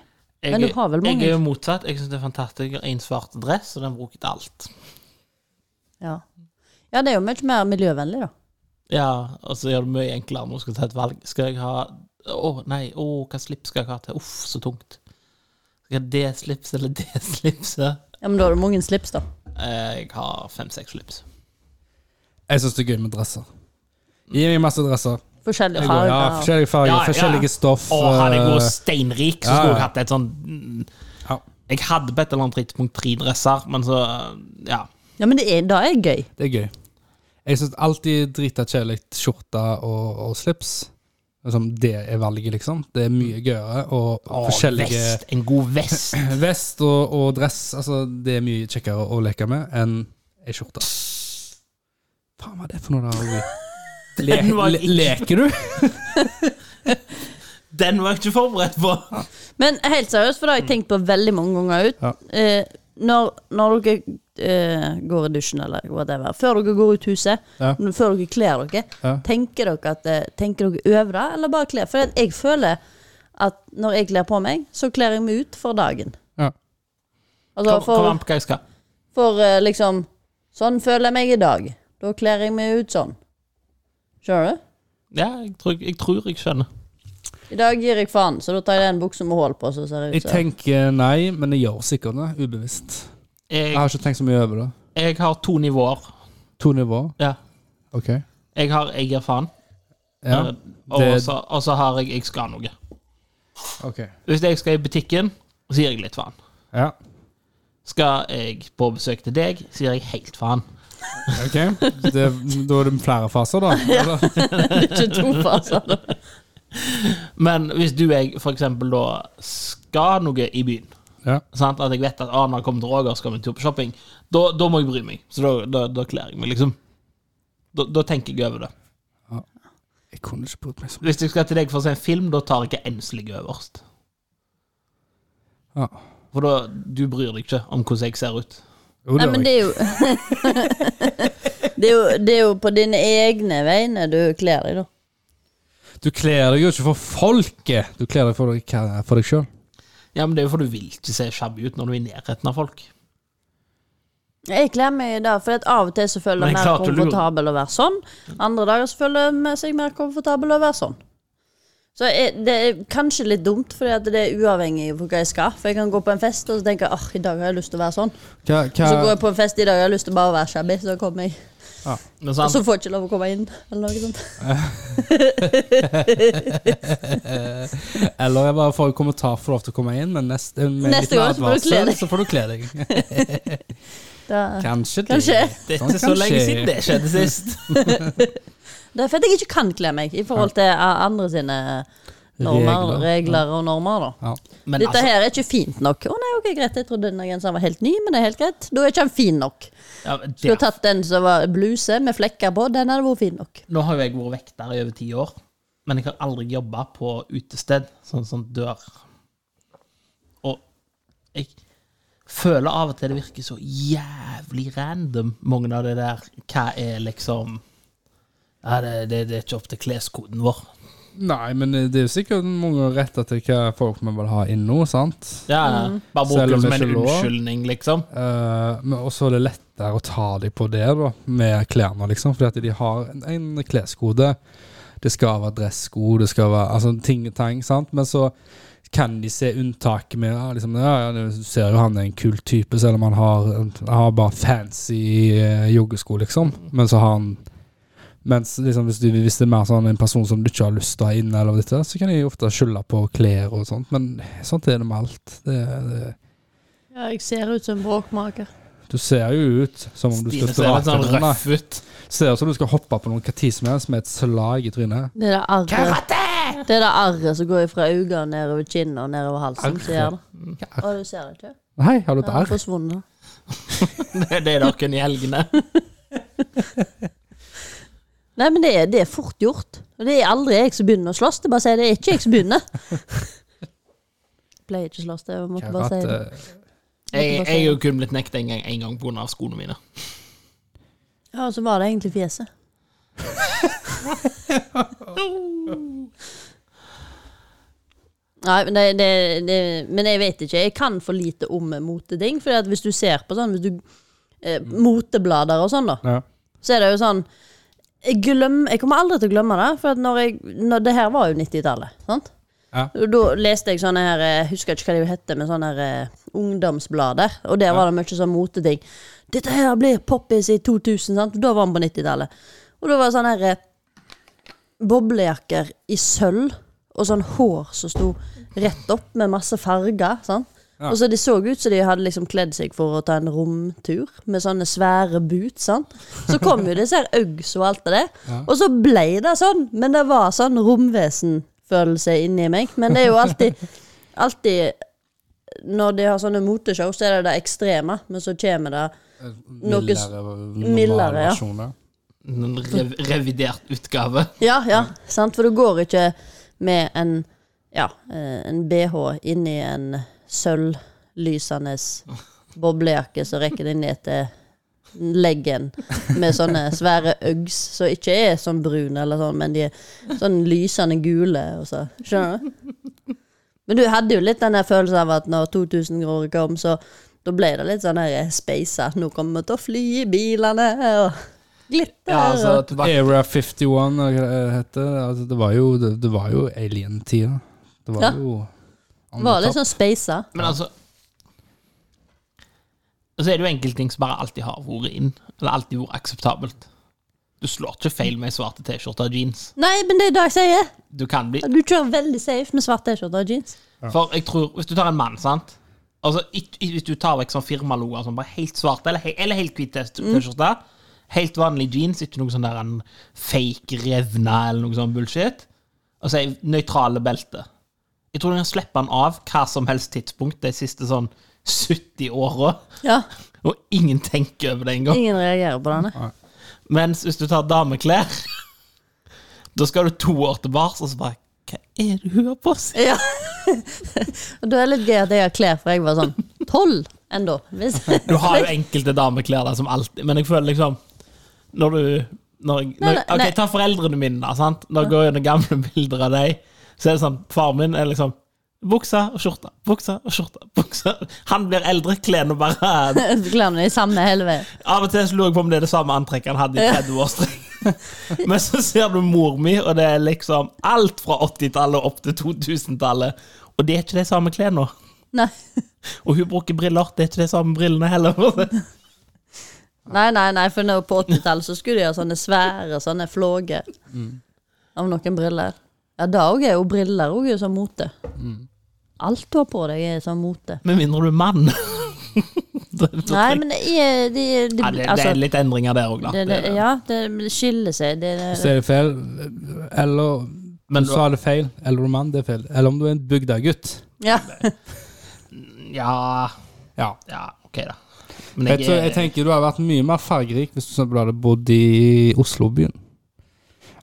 Jeg,
Men du har vel mange.
jeg er jo motsatt. Jeg syns det er fantastisk. Jeg har en svart dress, og den bruker til alt.
Ja. ja, det er jo mye mer miljøvennlig, da.
Ja, og så gjør det mye enklere når du skal ta et valg. Skal jeg ha Å, nei, å, hva slips skal jeg ha til? Uff, så tungt. Skal jeg ha det slipset eller det slipset?
Ja, Men da har du mange slips, da.
Eh, Jeg har fem-seks slips.
Jeg syns det er gøy med dresser. Gi meg masse dresser.
Forskjellige
Jeg går,
farger.
ja,
og-
forskjellige farger,
Ja, ja.
forskjellige stoff.
Og hadde jeg vært
eh,
steinrik, så
ja,
skulle
ja.
jeg hatt et sånn mm,
eh, Ja.
Jeg hadde på et eller annet tidspunkt tre dresser, men så Ja.
Ja, men det er, det er gøy.
det er gøy. Jeg syns alltid drita kjedelig skjorte og, og slips. Liksom, det er valget, liksom. Det er mye gøyere. Og
Å,
forskjellige
vest. En god vest.
vest og, og dress. Altså, det er mye kjekkere å leke med enn ei skjorte. Faen, hva er det for noe, da? Ole? Le,
Den var
le, leker du?
Den var jeg ikke forberedt på.
Men helt seriøst, for det har jeg tenkt på veldig mange ganger ut.
Ja.
Eh, når, når dere eh, går i dusjen eller whatever, før dere går ut huset,
Ja.
n- før dere kler dere,
Ja.
tenker dere at eh, Tenker dere over det, eller bare kler? For jeg føler at når jeg kler på meg, så kler jeg meg ut for dagen.
Ja.
Altså
Kom, kom
for,
an på hva jeg skal.
for eh, liksom Sånn føler jeg meg i dag. Da kler jeg meg ut sånn. Skjønner du?
Ja, jeg tror jeg, tror jeg skjønner.
I dag gir jeg faen, så da tar jeg en bukse med hull på, så ser jeg
Jeg
ut som
tenker nei, men jeg gjør sikkert det, ubevisst. Jeg
Jeg,
har ikke tenkt så mye over det.
jeg har to nivåer.
To nivåer.
Ja.
Ok.
Jeg har 'jeg gir faen',
Ja,
eh, og,
det-
så, og så har jeg 'jeg skal noe'.
ok.
Hvis jeg skal i butikken, så gir jeg litt faen.
Ja,
Skal jeg på besøk til deg, så gir jeg helt faen.
ok. Det, da er det flere faser, da. eller?
ikke to faser. da.
Men hvis du og jeg for eksempel da skal noe i byen,
Ja.
sant? at jeg vet at ah, når jeg kommer til Roger, skal vi en tur på shopping, da, da må jeg bry meg. Så da, da, da kler jeg meg, liksom. Da, da tenker jeg over det.
Jeg kunne ikke brukt meg sånn.
Hvis jeg skal til deg for å se en film, da tar jeg ikke enslig øverst.
Ja.
For da, du bryr deg ikke om hvordan jeg ser ut.
Jo,
Nei, men det er jo Det er jo, det er jo på dine egne vegne du kler deg, da.
Du kler deg jo ikke for folket, du kler deg for deg, hva- for deg sjøl.
Ja, men det er jo for du vil ikke se shabby ut når du er i nærheten av folk.
Jeg kler meg i dag, for at av og til så føler
Men
jeg
det
meg
er
mer
klart du lurer.
komfortabel å være sånn. Andre dager så føler jeg meg- seg mer komfortabel å være sånn. Så jeg, det er kanskje litt dumt, fordi at det er uavhengig av hva jeg skal. For jeg kan gå på en fest og så tenke at i dag har jeg lyst til å være sånn.
Hva,
Så går
hva,
jeg på en fest i dag har jeg lyst til bare å være shabby, så kommer jeg.
Men
Og
sant?
så får jeg ikke lov å komme inn, eller noe sånt.
eller jeg bare får en kommentar for lov til å komme inn, men neste, med
Neste
litt mer
gang så får du kle deg.
advarsel, så får du kle deg.
Da,
Kanskje det.
Kanskje.
Det er
Sånn
ikke
kan
så lenge
skje.
siden det skjedde sist.
det er for at jeg ikke kan kle meg i forhold til eh, andre sine normer,
Regler.
regler, og normer, da.
Ja.
Men
Dette
altså,
her er ikke fint nok. Å nei, ok, greit, jeg trodde denne genseren var helt ny, men det er helt greit. Da er ikke han fin nok.
ja, men
Skulle
der-
tatt den som var bluse med flekker på, den hadde vært fin nok.
Nå har jo jeg vært vekter i over ti år, men jeg har aldri jobba på utested, sånn som dør. Og jeg føler av og til det virker så jævlig random, mange av det der Hva er liksom ja, det, det, det er ikke opp til kleskoden vår.
Nei, men det er jo sikkert mange retter til hva folk vi vil ha inn nå, sant?
Ja, Mm. Bare bruke
Selv
det
om
som en
det ikke er lov.
unnskyldning, liksom.
Eh, men også er det lettere å ta dem på det, da, med klærne, liksom. Fordi at de har en, en kleskode. Det skal være dressko, det skal være altså, ting og tang, sant. Men så kan de se unntaket med ja, liksom, ja, ja, Du ser jo han er en kul type, selv om han har, han har bare fancy eh, joggesko, liksom. Men så har han mens liksom, hvis, du, hvis det er mer sånn en person som du ikke har lyst til å ha inn, eller dette, så kan de ofte skylde på klær og sånt. Men sånt er det med alt. Det, det,
Ja, jeg ser ut som en bråkmaker.
du ser jo ut som om du skal
Stine ser litt
drake
sånn
noen. da.
røff ut.
Ser ut som du skal hoppe på noen hva tid som helst med et slag i trynet.
Det er det arret Det er det arret som går fra øynene og nedover kinnet og nedover halsen.
Arret?
Så gjør det. Å, du ser det ikke?
Hei, har du
Det
et
har
arr?
forsvunnet.
Det, det er da kun i helgene.
Nei, men det er, det er fort gjort. Og det er aldri jeg som begynner å slåss. Det er bare å si det er ikke jeg som begynner. Jeg pleier ikke å slåss, det. Jeg måtte bare si det.
eh,
Jeg, jeg er jo kun blitt nekta en gang, en gang pga. skoene mine.
Ja, og så var det egentlig fjeset. Nei, men, det, det, det, men jeg vet ikke. Jeg kan for lite om moteting. For hvis du ser på sånn hvis du, eh, moteblader og sånn, da,
Ja.
så er det jo sånn jeg, glem, jeg kommer aldri til å glemme det, for at når jeg, når, det her var jo 90-tallet. sant?
Ja.
Da leste jeg sånne her, eh, husker ikke hva de hette, men sånne her, eh, ungdomsblader. Og der var det mye sånn moteting. 'Dette her blir poppis i 2000', sant? Da var han på 90-tallet. Og da var det sånne her, eh, boblejakker i sølv, og sånn hår som sto rett opp med masse farger. sant?
Ja.
Og så De så ut som de hadde liksom kledd seg for å ta en romtur, med sånne svære boots. sant? Så kom jo disse her Uggs og alt det der. Og så ble det sånn, men det var sånn romvesenfølelse inni meg. Men det er jo alltid, alltid når de har sånne moteshow, så er det det ekstreme, men så kommer det Noe s- mildere, ja.
ja.
En rev, revidert utgave.
Ja, ja, sant? for du går ikke med en, ja, eh, en BH inn i en sølvlysende boblejakke som rekker deg ned til leggen, med sånne svære Uggs som ikke er sånn brune, eller sånn, men de er sånn lysende gule. Og så. Skjønner du? Men du hadde jo litt den der følelsen av at når 2000 kroner kom, så da ble det litt sånn her spaisa. Nå kommer vi til å fly i bilene og glitter.
Ja, altså,
og-
tilbake,
Era 51, eller hva det heter. Altså, det var jo, det, det var jo alien-tida. Det var
Ja.
jo on
var
the
litt
top.
sånn spaisa.
men altså Og så er det jo enkelte ting som bare alltid har vært inn, eller alltid vært akseptabelt. Du slår ikke feil med ei svarte T-skjorte og jeans.
Nei, men det er det jeg sier.
Du kan bli
Du kjører veldig safe med svart T-skjorte og jeans.
For jeg tror, hvis du tar en mann, sant Altså, ikk- ikk- Hvis du tar vekk sånn firmaloer som bare helt svarte, eller, he eller helt hvit t- T-skjorte, helt vanlig jeans, ikke noe sånn der en fake revne eller noe sånn bullshit, og så er nøytrale belte Jeg tror du kan slippe han av hva som helst tidspunkt de siste sånn 70 åra,
Ja,
og ingen tenker over det engang.
Ingen reagerer på denne.
Mens hvis du tar dameklær, da skal du to år tilbake, og så bare Hva er det hun har på seg?
Ja. Og da er det litt gøy at jeg har klær, for jeg var sånn tolv ennå. Hvis-
Du har jo enkelte dameklær der som alltid Men jeg føler liksom Når du når, jeg- når,
Nei, nei,
Ok,
nei.
ta foreldrene mine da, sant? Når jeg går gjennom gamle bilder av deg Så er det sånn, far min er liksom Buksa og skjorta, buksa og skjorta buksa. Han blir eldre, klærne bare
Klærne de samme hele veien.
Av og til så lurer jeg på om det er det samme antrekket han hadde i 30 år streng Men så ser du mor mi Og det er liksom alt fra 80-tallet opp til 2000-tallet Og det er ikke de samme klærne
Nei.
Og hun bruker briller, det er ikke de samme brillene heller
Nei, nei, nei, for nå på 80-tallet så skulle de ha sånne svære sånne flåger Mm. av noen briller. Ja, da òg er jo briller òg sånn mote. Alt du har på deg, er sånn mote.
Med mindre du er mann. det, det,
Nei, men det er de, de,
ja, det, det
altså,
er litt endringer der òg, da.
det, det,
Det er det.
Ja, det skiller seg. Det, det,
Så er det feil. Eller
Men
du sa det feil. Eller om mann, det er feil. Eller om du er en bygdegutt.
ja.
ja,
Ja.
ja, OK, da. Men
Jeg,
jeg,
tror, jeg tenker du hadde vært mye mer fargerik hvis du for eksempel hadde bodd i Oslo-byen.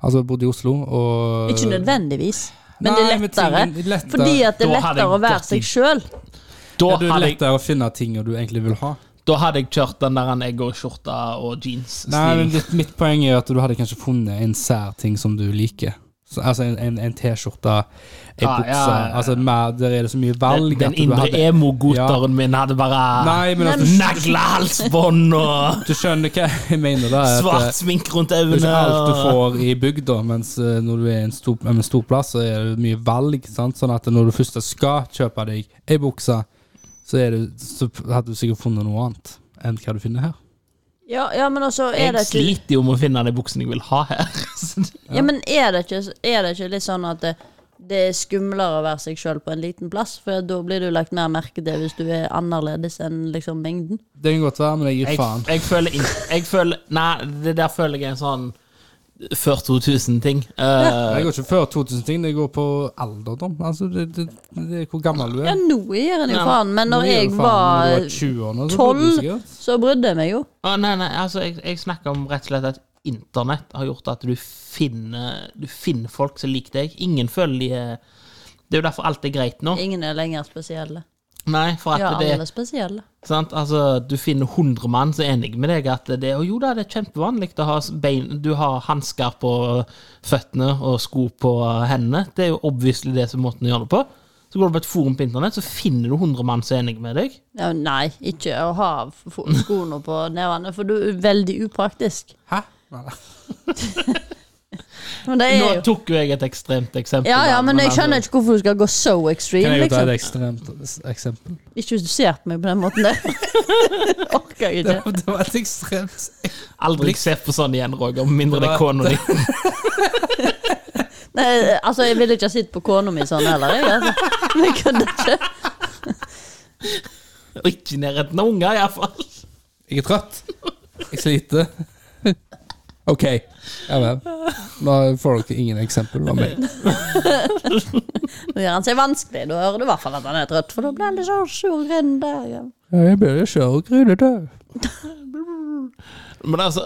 Altså bodd i Oslo og
Ikke nødvendigvis, men det er
Eh, Nei, men
lettere.
tingen- lettere.
Fordi at det er
Da hadde jeg
lettere å være
gått i-
seg sjøl.
da,
Ja, du er
hadde jeg,
lettere å finne ting du egentlig vil ha.
da hadde jeg kjørt den der jeg går i skjorta og jeans.
Nei, men
stilen.
litt, Mitt poeng er at du hadde kanskje funnet en sær ting som du liker. Så, altså en, en, en T-skjorte, en
Ja,
bukse
ja, ja.
Altså mer, Der er det så mye valg.
den
at du
indre
hadde-
emo-goteren min hadde bare
Nei, men at du,
nagla halsbånd og
du skjønner hva jeg mener. da at, eh,
svart smink rundt
Det er
øynene.
ikke alt du
og-
får i bygda, mens eh, når du er en stor, en stor plass, så er det mye valg. Sant? Sånn at når du først skal kjøpe deg ei bukse, så, er det- så hadde du sikkert funnet noe annet enn hva du finner her.
Ja, ja, men også er
Jeg
det ikke
sliter jo med å finne den buksen jeg vil ha her. Så det-
Ja, men er det ikke, er det ikke litt sånn at det, det er skumlere å være seg sjøl på en liten plass? For da blir du lagt mer merke til hvis du er annerledes enn liksom mengden.
Det kan godt være, men jeg gir
Jeg,
faen.
jeg føler inn- jeg føler, Nei, det der føler jeg er en sånn før 2000-ting.
Det går ikke før 2000 ting, det går på alderdom. Altså, det, det, det er hvor gammel du
Ja,
er.
nå gir en jo
Ja,
faen, men
Nå
når
gir du
jeg
faen når
var
du 20-årene, så burde du
12,
sikkert.
så brydde jeg meg jo.
Å, nei, nei, altså, jeg, jeg snakker om rett og slett at internett har gjort at du finner, du finner folk som liker deg. Ingen føler de er Det er jo derfor alt er greit nå.
Ingen er lenger spesielle.
Nei, for at
Ja,
det
alle er spesielle.
sant? Altså, Du finner 100 mann som er enig med deg at det er Jo da, det er kjempevanlig å ha bein Du har hansker på føttene og sko på hendene. Det er jo obviously det som er måten å gjøre det på. Så går du på et forum på internett, så finner du 100 mann som er enig med deg.
Ja, nei, ikke å ha f- f- skoene på nevene, for du er veldig upraktisk.
Hæ? Nei, nei.
Men det
Nå
er jo
tok jo jeg et ekstremt eksempel.
Ja, ja,
da,
men jeg
altså-
skjønner ikke hvorfor du skal gå så
Kan
extreme,
jeg jo ta
liksom.
et ekstremt eksempel?
Ikke hvis du ser på meg på den måten der. Orker jeg ikke.
Det var et ekstremt
Aldri se på sånn igjen, Roger, med mindre det er kona di.
Nei, altså, jeg ville ikke ha sett på kona mi sånn heller, jeg. Altså. Men jeg kunne ikke.
Og ikke i nærheten av unger, iallfall.
Jeg er trøtt. Jeg sliter. OK. Ja vel. Da får dere ingen eksempel av meg.
Nå gjør han seg vanskelig, da hører du i hvert fall at han er trøtt, for da blir han litt sånn sur grønn der. Ja.
Jeg blir jo sjøl grunete.
Men altså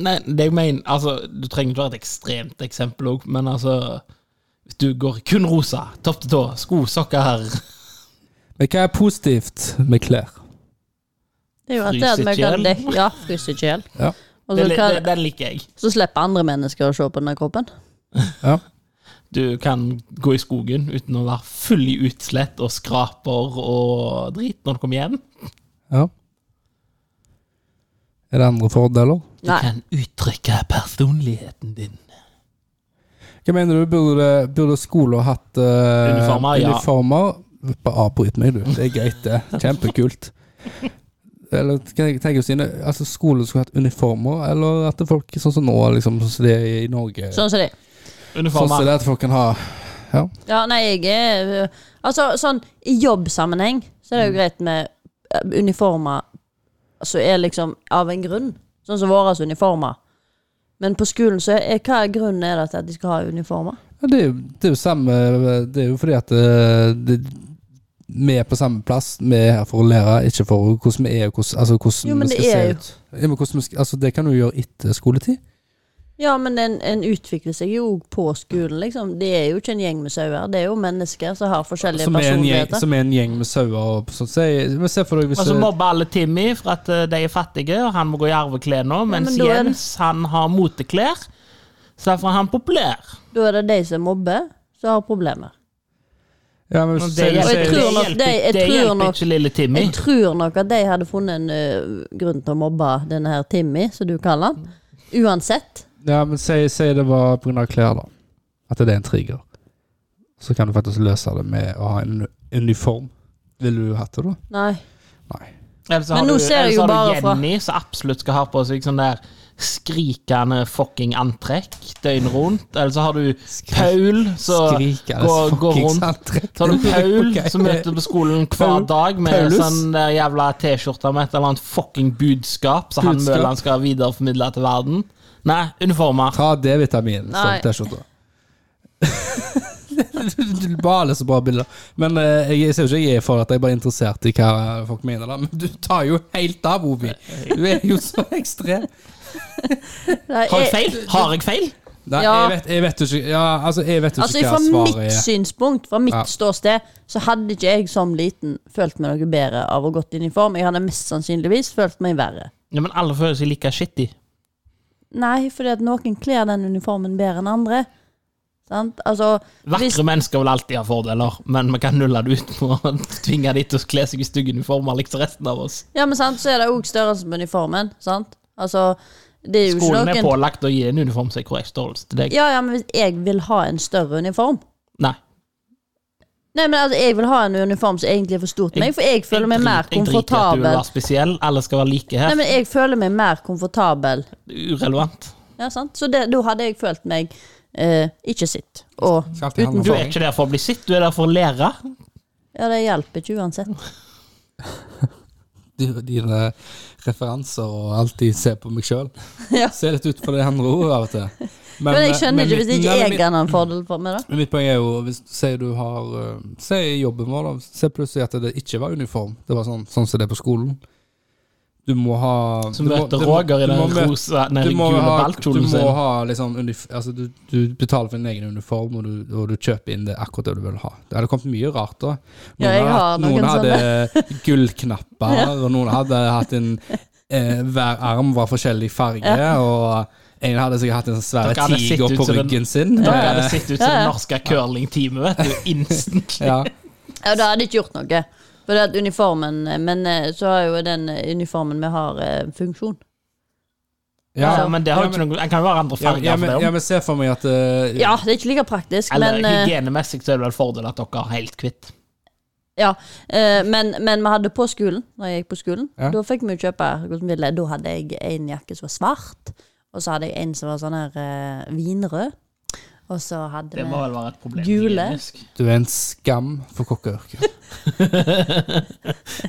Nei, det jeg mener altså, Du trenger ikke være et ekstremt eksempel òg, men altså Hvis du går kun rosa, topp til tå, sko, sokker her
Men hva er positivt med klær?
Det er jo at det at vi
Frysekjel.
kan dekke Ja, frysekjel.
Ja.
Og
det,
så,
li- det,
kan,
Den liker jeg.
så slipper andre mennesker å se på denne kroppen.
Ja.
Du kan gå i skogen uten å være full i utslett og skraper og drit når du kommer hjem.
Ja. Er det andre fordeler?
Du
Nei.
kan uttrykke personligheten din.
Hva mener du? Burde, burde skoler hatt eh,
Uniformer, ja.
uniformer? Bare avbryt meg, du. Det er greit, det. Kjempekult. Eller kan jeg tenke sine, altså Skolen skulle hatt uniformer, eller at det folk sånn som nå, liksom, sånn som det er i Norge
Sånn som det.
Sånn som
Uniformer.
det at folk kan ha Ja.
Ja, nei, jeg er Altså, sånn i jobbsammenheng så
Mm.
er det jo greit med eh, uniformer som er liksom av en grunn. Sånn som våre uniformer. Men på skolen, så er hva er grunnen er det til at de skal ha uniformer?
Ja, det, er jo, det er jo samme Det er jo fordi at eh, det, vi er på samme plass. Vi er her for å lære, ikke for hvordan vi er. og Hvordan, altså, hvordan
Jo, men
vi
det
skal
er
se
jo-
ut. Ja, men hvordan vi skal, altså, det kan du gjøre etter skoletid.
Ja, men en, en utvikler seg jo på skolen, liksom. Det er jo ikke en gjeng med sauer. Det er jo mennesker som har forskjellige
Som er, en gjeng,
personligheter.
som er en gjeng med sauer og sånn. Se, men se for deg hvis
Og så
du-
mobber alle Timmy for at eh, de er fattige, og han må gå i arveklær nå, mens
men da er det-
Jens han har moteklær. Så derfor er han populær.
Da er det de som mobber, som har problemer.
ja,
Og
men, hvis du
det
sier-
Og jeg
hjelper,
sier-
det
tror nok-
hjelper,
det- jeg
det
tror
hjelper
nok-
ikke lille Timmy.
Mm.
Jeg tror nok at de hadde funnet en ø, grunn til å mobbe denne her Timmy, som du kaller han.
Mm.
Uansett.
ja, men si, si det var pga. klær, da. At det er en trigger. Så kan du faktisk løse det med å ha en uniform. Ville du hatt det, da?
Nei.
Nei.
Ellers så
Men
har du,
nå ser jeg
ellers
jo
har du
bare fra-
Jenny, som absolutt skal ha på seg sånn der skrikende fucking antrekk døgnet rundt. Eller så har du Paul, som
Skriker
går, går rundt. Så har du Paul,
Ok.
som møter på skolen hver
Paul-
dag med
Paulus?
sånn der jævla T-skjorte med et eller annet fucking budskap som han
Budskap?
føler han skal videreformidle til verden. Nei, uniformer.
Ta D-vitamin som
Nei.
T-skjorte. sånn Du- du baler så bra bilder. Men eh, jeg, jeg ser jo ikke jeg er for at jeg er bare interessert i hva folk mener, da. Men du tar jo helt av, Ovi. Du er jo så ekstrem.
Nei,
Har jeg
jeg-
feil? Har jeg feil?
Nei,
Ja.
jeg, vet, jeg vet jo ikke Ja, altså, jeg vet jo
Altså,
ikke
fra
hva svaret
mitt
er.
synspunkt, fra mitt
Ja.
ståsted, så hadde ikke jeg som liten følt meg noe bedre av å gått i uniform. Jeg hadde mest sannsynligvis følt meg verre.
Ja, men alle føler seg like shitty.
Nei, fordi at noen kler den uniformen bedre enn andre. Sant? Altså,
Vakre
Hvis-
mennesker vil alltid ha fordeler, men vi kan nulle det ut med å tvinge de til å kle seg i stygge uniformer, liksom resten av oss.
ja, men sant, så er det òg størrelsen på uniformen, sant? Altså, det er jo ikke
Skolen er
noen
pålagt å gi en uniform som er korrekt størrelse til deg.
Ja, ja, men hvis jeg vil ha en større uniform
Nei.
Nei, men altså, jeg vil ha en uniform som egentlig er for stor til meg, for jeg føler meg mer
Jeg driter i at du vil
komfortabel.
være spesiell. Alle skal være like
Nei,
her.
men jeg føler meg mer komfortabel.
Urelevant.
Ja, sant? Så det, da hadde jeg følt meg eh, ikke sitt. Og
Skal alltid handle om
uten
Du er ikke der for å bli sitt, du er der for å lære.
Ja, det hjelper ikke uansett.
di- dine referanser og alltid se på meg sjøl.
Ja.
Se litt ut på det andre ordet av og til.
Men
Men, eh,
jeg
men
skjønner ikke
mitt-
hvis ikke
nei, men
jeg
mitt-
har en fordel for meg, da.
Men mitt poeng er jo, hvis sier du har eh, Si i jobben vår, da. Se plutselig at det ikke var uniform. Det var sånn, sånn som det er på skolen. Du må ha
Som
du må-
møter
du må-
Roger i
du
den
må møte-
rosa, den
du må
gule
ha-
ballkjolen
Du må
sin.
ha liksom unif altså, du, du betaler for din egen uniform, og du, og du kjøper inn det akkurat det du vil ha. Det hadde kommet mye rart da.
Ja, jeg har
hadde, noen
noen
hadde gullknapper, og noen hadde hatt en eh, Hver arm var forskjellig farge, og en hadde sikkert hatt en sånn svær
Dere hadde sett
tiger
ut
på
som en-
ryggen sin.
Dere
Eh,
hadde sett ut som
Ja,
det
ja.
norske curlingteamet, vet du. Instantly.
ja.
Ja, det hadde ikke gjort noe. For det at uniformen Men eh, så har jo den eh, uniformen vi har, eh, funksjon.
Ja,
Ja.
Altså, men det har jo
Ja,
ikke noe En kan jo være andre
Ja,
Liksom, farger
ja, men,
for det
ja,
òg.
men se for meg at eh,
Ja, det er ikke like praktisk,
Eller
men eh,
hygienemessig så er det vel en fordel at dere er helt kvitt.
Ja, eh, men, men vi hadde på skolen, når jeg gikk på skolen,
Ja.
da fikk vi jo kjøpe hvordan vi ville. Da hadde jeg en jakke som var svart, og så hadde jeg en som var sånn her eh, vinrød. Og så hadde
Det
vi
må vel være et problem.
Gule.
hygienisk.
Du er en skam for kokkeyrket.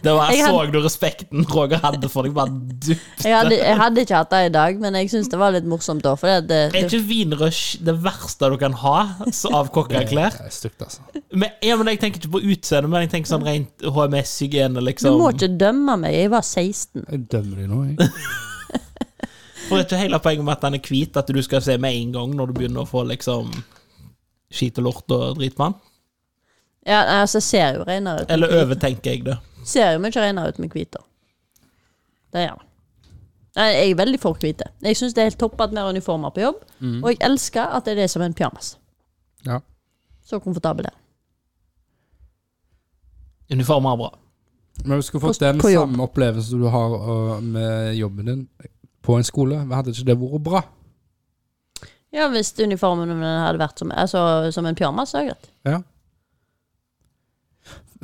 Det var, jeg
Jeg
så du respekten Roger hadde for deg. Bare du
jeg hadde, jeg hadde ikke hatt det i dag, men jeg syns det var litt morsomt da. For det,
Er
det,
ikke vinrush det verste du kan ha så av kokkeklær?
Det er stygt, altså.
Men, ja, men jeg tenker ikke på utseende, men jeg tenker sånn rent HMS-hygiene,
du
liksom.
må ikke dømme meg, jeg var 16.
Jeg dømmer deg nå, jeg.
For det er ikke hele poenget med at den er hvit, at du skal se med en gang når du begynner å få liksom skit og lort og drit på den.
Ja, nei, altså, jeg ser jo renere ut.
Eller overtenker jeg det.
Ser jo mye renere ut med hvit, da. Det gjør jeg. Nei, Jeg er veldig for hvite. Jeg syns det er helt topp at vi har uniformer på jobb, og jeg elsker at det er det som en pyjamas.
Ja.
Så komfortabel det.
Uniformer er bra.
Men du skulle fått
På-
den
på jobb.
samme opplevelsen du har øh, med jobben din på en skole. Hadde ikke det vært bra?
Ja, hvis uniformen min hadde vært som, altså, som en pyjamas, så er det greit.
Ja.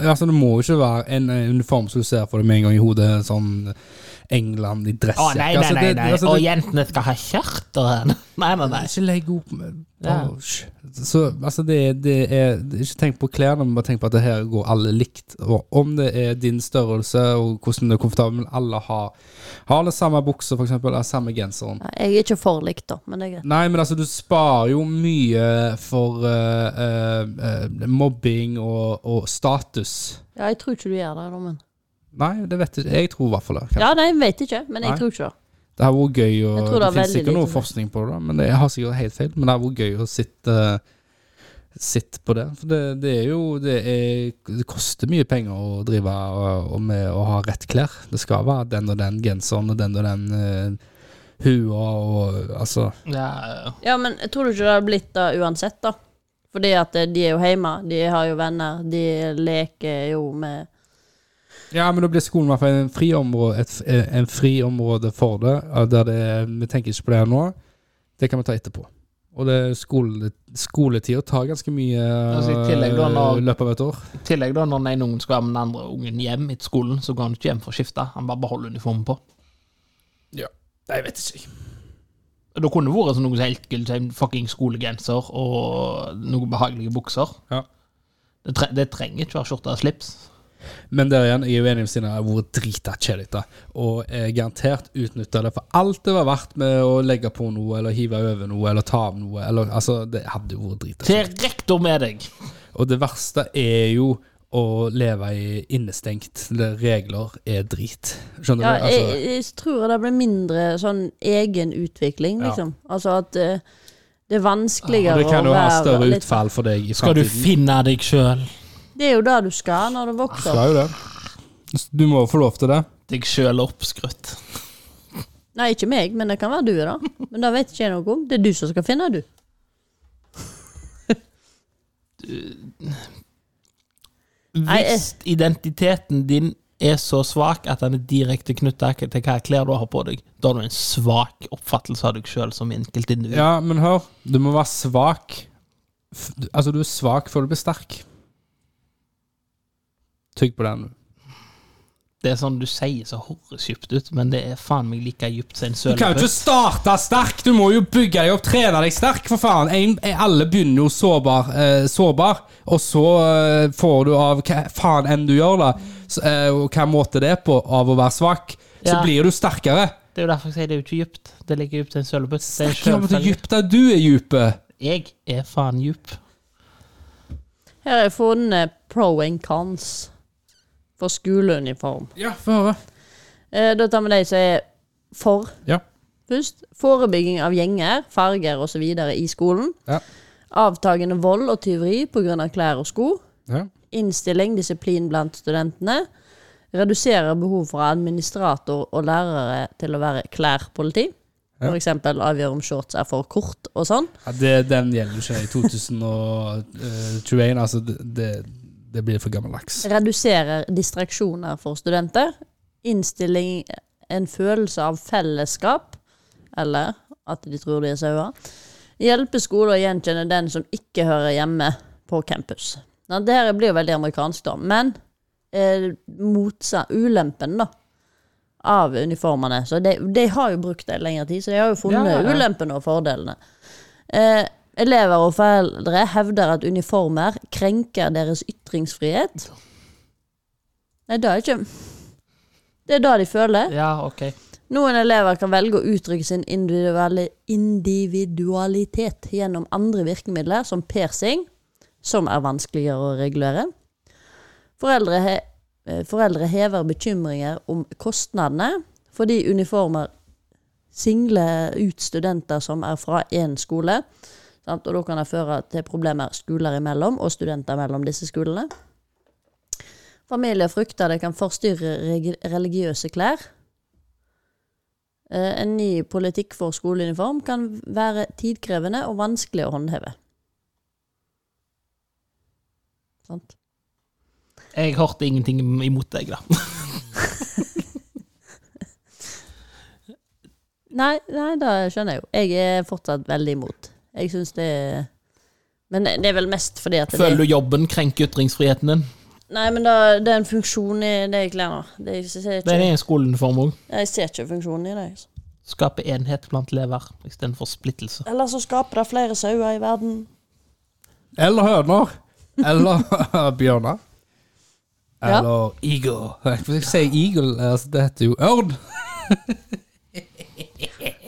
Altså, det må jo ikke være en eh, uniform som du ser for deg med en gang i hodet, sånn England i
Å,
dressjakke.
nei, nei,
Altså,
nei.
det-
nei.
altså,
og
det-
jentene skal ha skjørter her. Nei, nei, nei.
Ikke legg opp med
Ja.
Åh, sj. Så altså, det, er- det er det er Ikke tenk på klærne, men bare tenk på at det her går alle likt. Og om det er din størrelse og hvordan det er komfortabelt, men alle har Har alle samme bukse, for eksempel, eller samme genseren.
Ja, jeg er ikke for likt, da, men det er greit.
Nei, men altså, du sparer jo mye for eh, eh, eh, mobbing og, og status.
Ja, jeg tror ikke du gjør det, da, men
Nei, det vet jeg ikke. Jeg tror i hvert fall det.
Ja, nei, jeg vet ikke, men jeg
Nei.
tror ikke det.
Det har vært gøy å
Jeg tror det
Det,
er
finnes
veldig
sikkert noe
lite-
forskning på det, da, men det, jeg har sikkert helt feil. Men det har vært gøy å sitte Sitte på det. For det, det er jo det, er, det koster mye penger å drive og, og med å ha rett klær. Det skal være den og den genseren og den og den uh, hua og Altså.
Ja,
Ja, men jeg tror ikke det hadde blitt det uansett, da. Fordi at eh, de er jo hjemme, de har jo venner, de leker jo med
Ja, men da blir skolen i hvert fall en friområde, et, eh, en friområde for det. eh, Der det vi tenker ikke på det her nå. Det kan vi ta etterpå. Og det skole, skoletida tar ganske mye
Altså, i tillegg da, når-
eh, løpet av et år.
I tillegg, da, når den ene ungen skal være med den andre ungen hjem etter skolen, så går han ikke hjem for å skifte. Han bare beholder uniformen på.
Nei, jeg vet ikke.
Da kunne det vært sånn noe som helt gull, som fucking skolegenser og noen behagelige bukser.
Ja.
Det, tre det trenger ikke være skjorte og slips.
Men der igjen, jeg er uenig med Stina. Det har vært drita kjedelig. da. Og jeg garantert utnytta det for alt det var verdt med å legge på noe, eller hive over noe, eller ta av noe. Eller, altså, det hadde jo vært drita
Til rektor med deg!
Og det verste er jo å leve i innestengt. Det- Regler er drit. Skjønner
Ja, jeg,
du? Altså,
jeg tror det blir mindre sånn egenutvikling,
Ja.
liksom. Altså at eh, det er
og
vanskeligere
det kan jo
å
ha
være
større
litt-
utfall for deg i
Skal du
fremtiden.
finne deg sjøl?
Det er jo det du skal når du vokser.
Skal jo det. Du må jo få lov til det.
Deg sjøl oppskrytt.
Nei, ikke meg, men det kan være du, da. Men det vet ikke jeg noe om. Det er du som skal finne, du. Nei, jeg-
Hvis identiteten din er så svak at den er direkte knytta til hva klær du har på deg, da har du en svak oppfattelse av deg sjøl som enkeltindivid.
Ja, men hør. Du må være svak. F- du- Altså, du er svak før du blir sterk. Tygg på den.
Det er sånn du sier så horresjupt ut, men det er faen meg like djupt som en
Du kan jo ikke
sølepøtt.
starte sterk! Du må jo bygge deg opp, trene deg sterk, for faen! En, en- alle begynner jo sårbar, eh, sårbar og så eh, får du av hva faen enn du gjør, da, så, eh, og hva måte det er på, av å være svak, så
Ja.
blir du sterkere.
Det er jo derfor jeg sier det er jo ikke djupt. Det ligger djupt som en sølepøtt. Det er en
Ikke om hvor
sjølfølge.
dypt er du er dype.
Jeg er faen djup.
Her har jeg funnet pro and cons for skoleuniform.
Ja, få høre.
Eh, da tar vi de som er for.
Ja.
Først forebygging av gjenger, farger osv. i skolen.
Ja.
Avtagende vold og tyveri pga. klær og sko.
Ja.
Innstilling, disiplin blant studentene. Redusere behov for administrator og lærere til å være klærpoliti.
Ja.
For eksempel avgjøre om shorts er for kort og sånn.
det, den gjelder ikke i 2021, altså. Det, det, det blir for gammeldags.
Redusere distraksjoner for studenter. Innstilling en følelse av fellesskap, eller at de tror de er sauer. Hjelpe skole å gjenkjenne den som ikke hører hjemme på campus. Nå, det her blir jo veldig amerikansk, da, men eh, motsa, ulempen, da. Av uniformene. Så de, de har jo brukt det i lengre tid, så de har jo funnet
Ja, ja.
ulempene og fordelene. Eh, elever og foreldre hevder at uniformer krenker deres ytringsfrihet. Nei, det er ikke Det er det de føler.
Ja, ok.
Noen elever kan velge å uttrykke sin individuelle individualitet gjennom andre virkemidler, som persing, som er vanskeligere å regulere. Foreldre, he eh, foreldre hever bekymringer om kostnadene, fordi uniformer singler ut studenter som er fra én skole, sant? og da kan det føre til problemer skoler imellom og studenter mellom disse skolene. Familier frykter det kan forstyrre regi- religiøse klær. Eh, En ny politikk for skoleuniform kan være tidkrevende og vanskelig å håndheve. Sant?
Jeg hørte ingenting imot deg, da.
Nei, nei, det skjønner jeg jo. Jeg er fortsatt veldig imot. Jeg syns det er Men det det er vel mest fordi at det
Føler du jobben krenker ytringsfriheten din?
Nei, men da, det er en funksjon i det jeg kler nå. Det, jeg, ser
Det er
ikke,
en skoleuniform òg.
jeg ser ikke funksjonen i det. altså.
Skape enhet blant elever istedenfor splittelse.
Eller så skaper det flere sauer i verden.
Eller høner. Eller bjørner.
Ja.
Eller eagle. Hvis jeg sier eagle, altså, det heter jo ørn.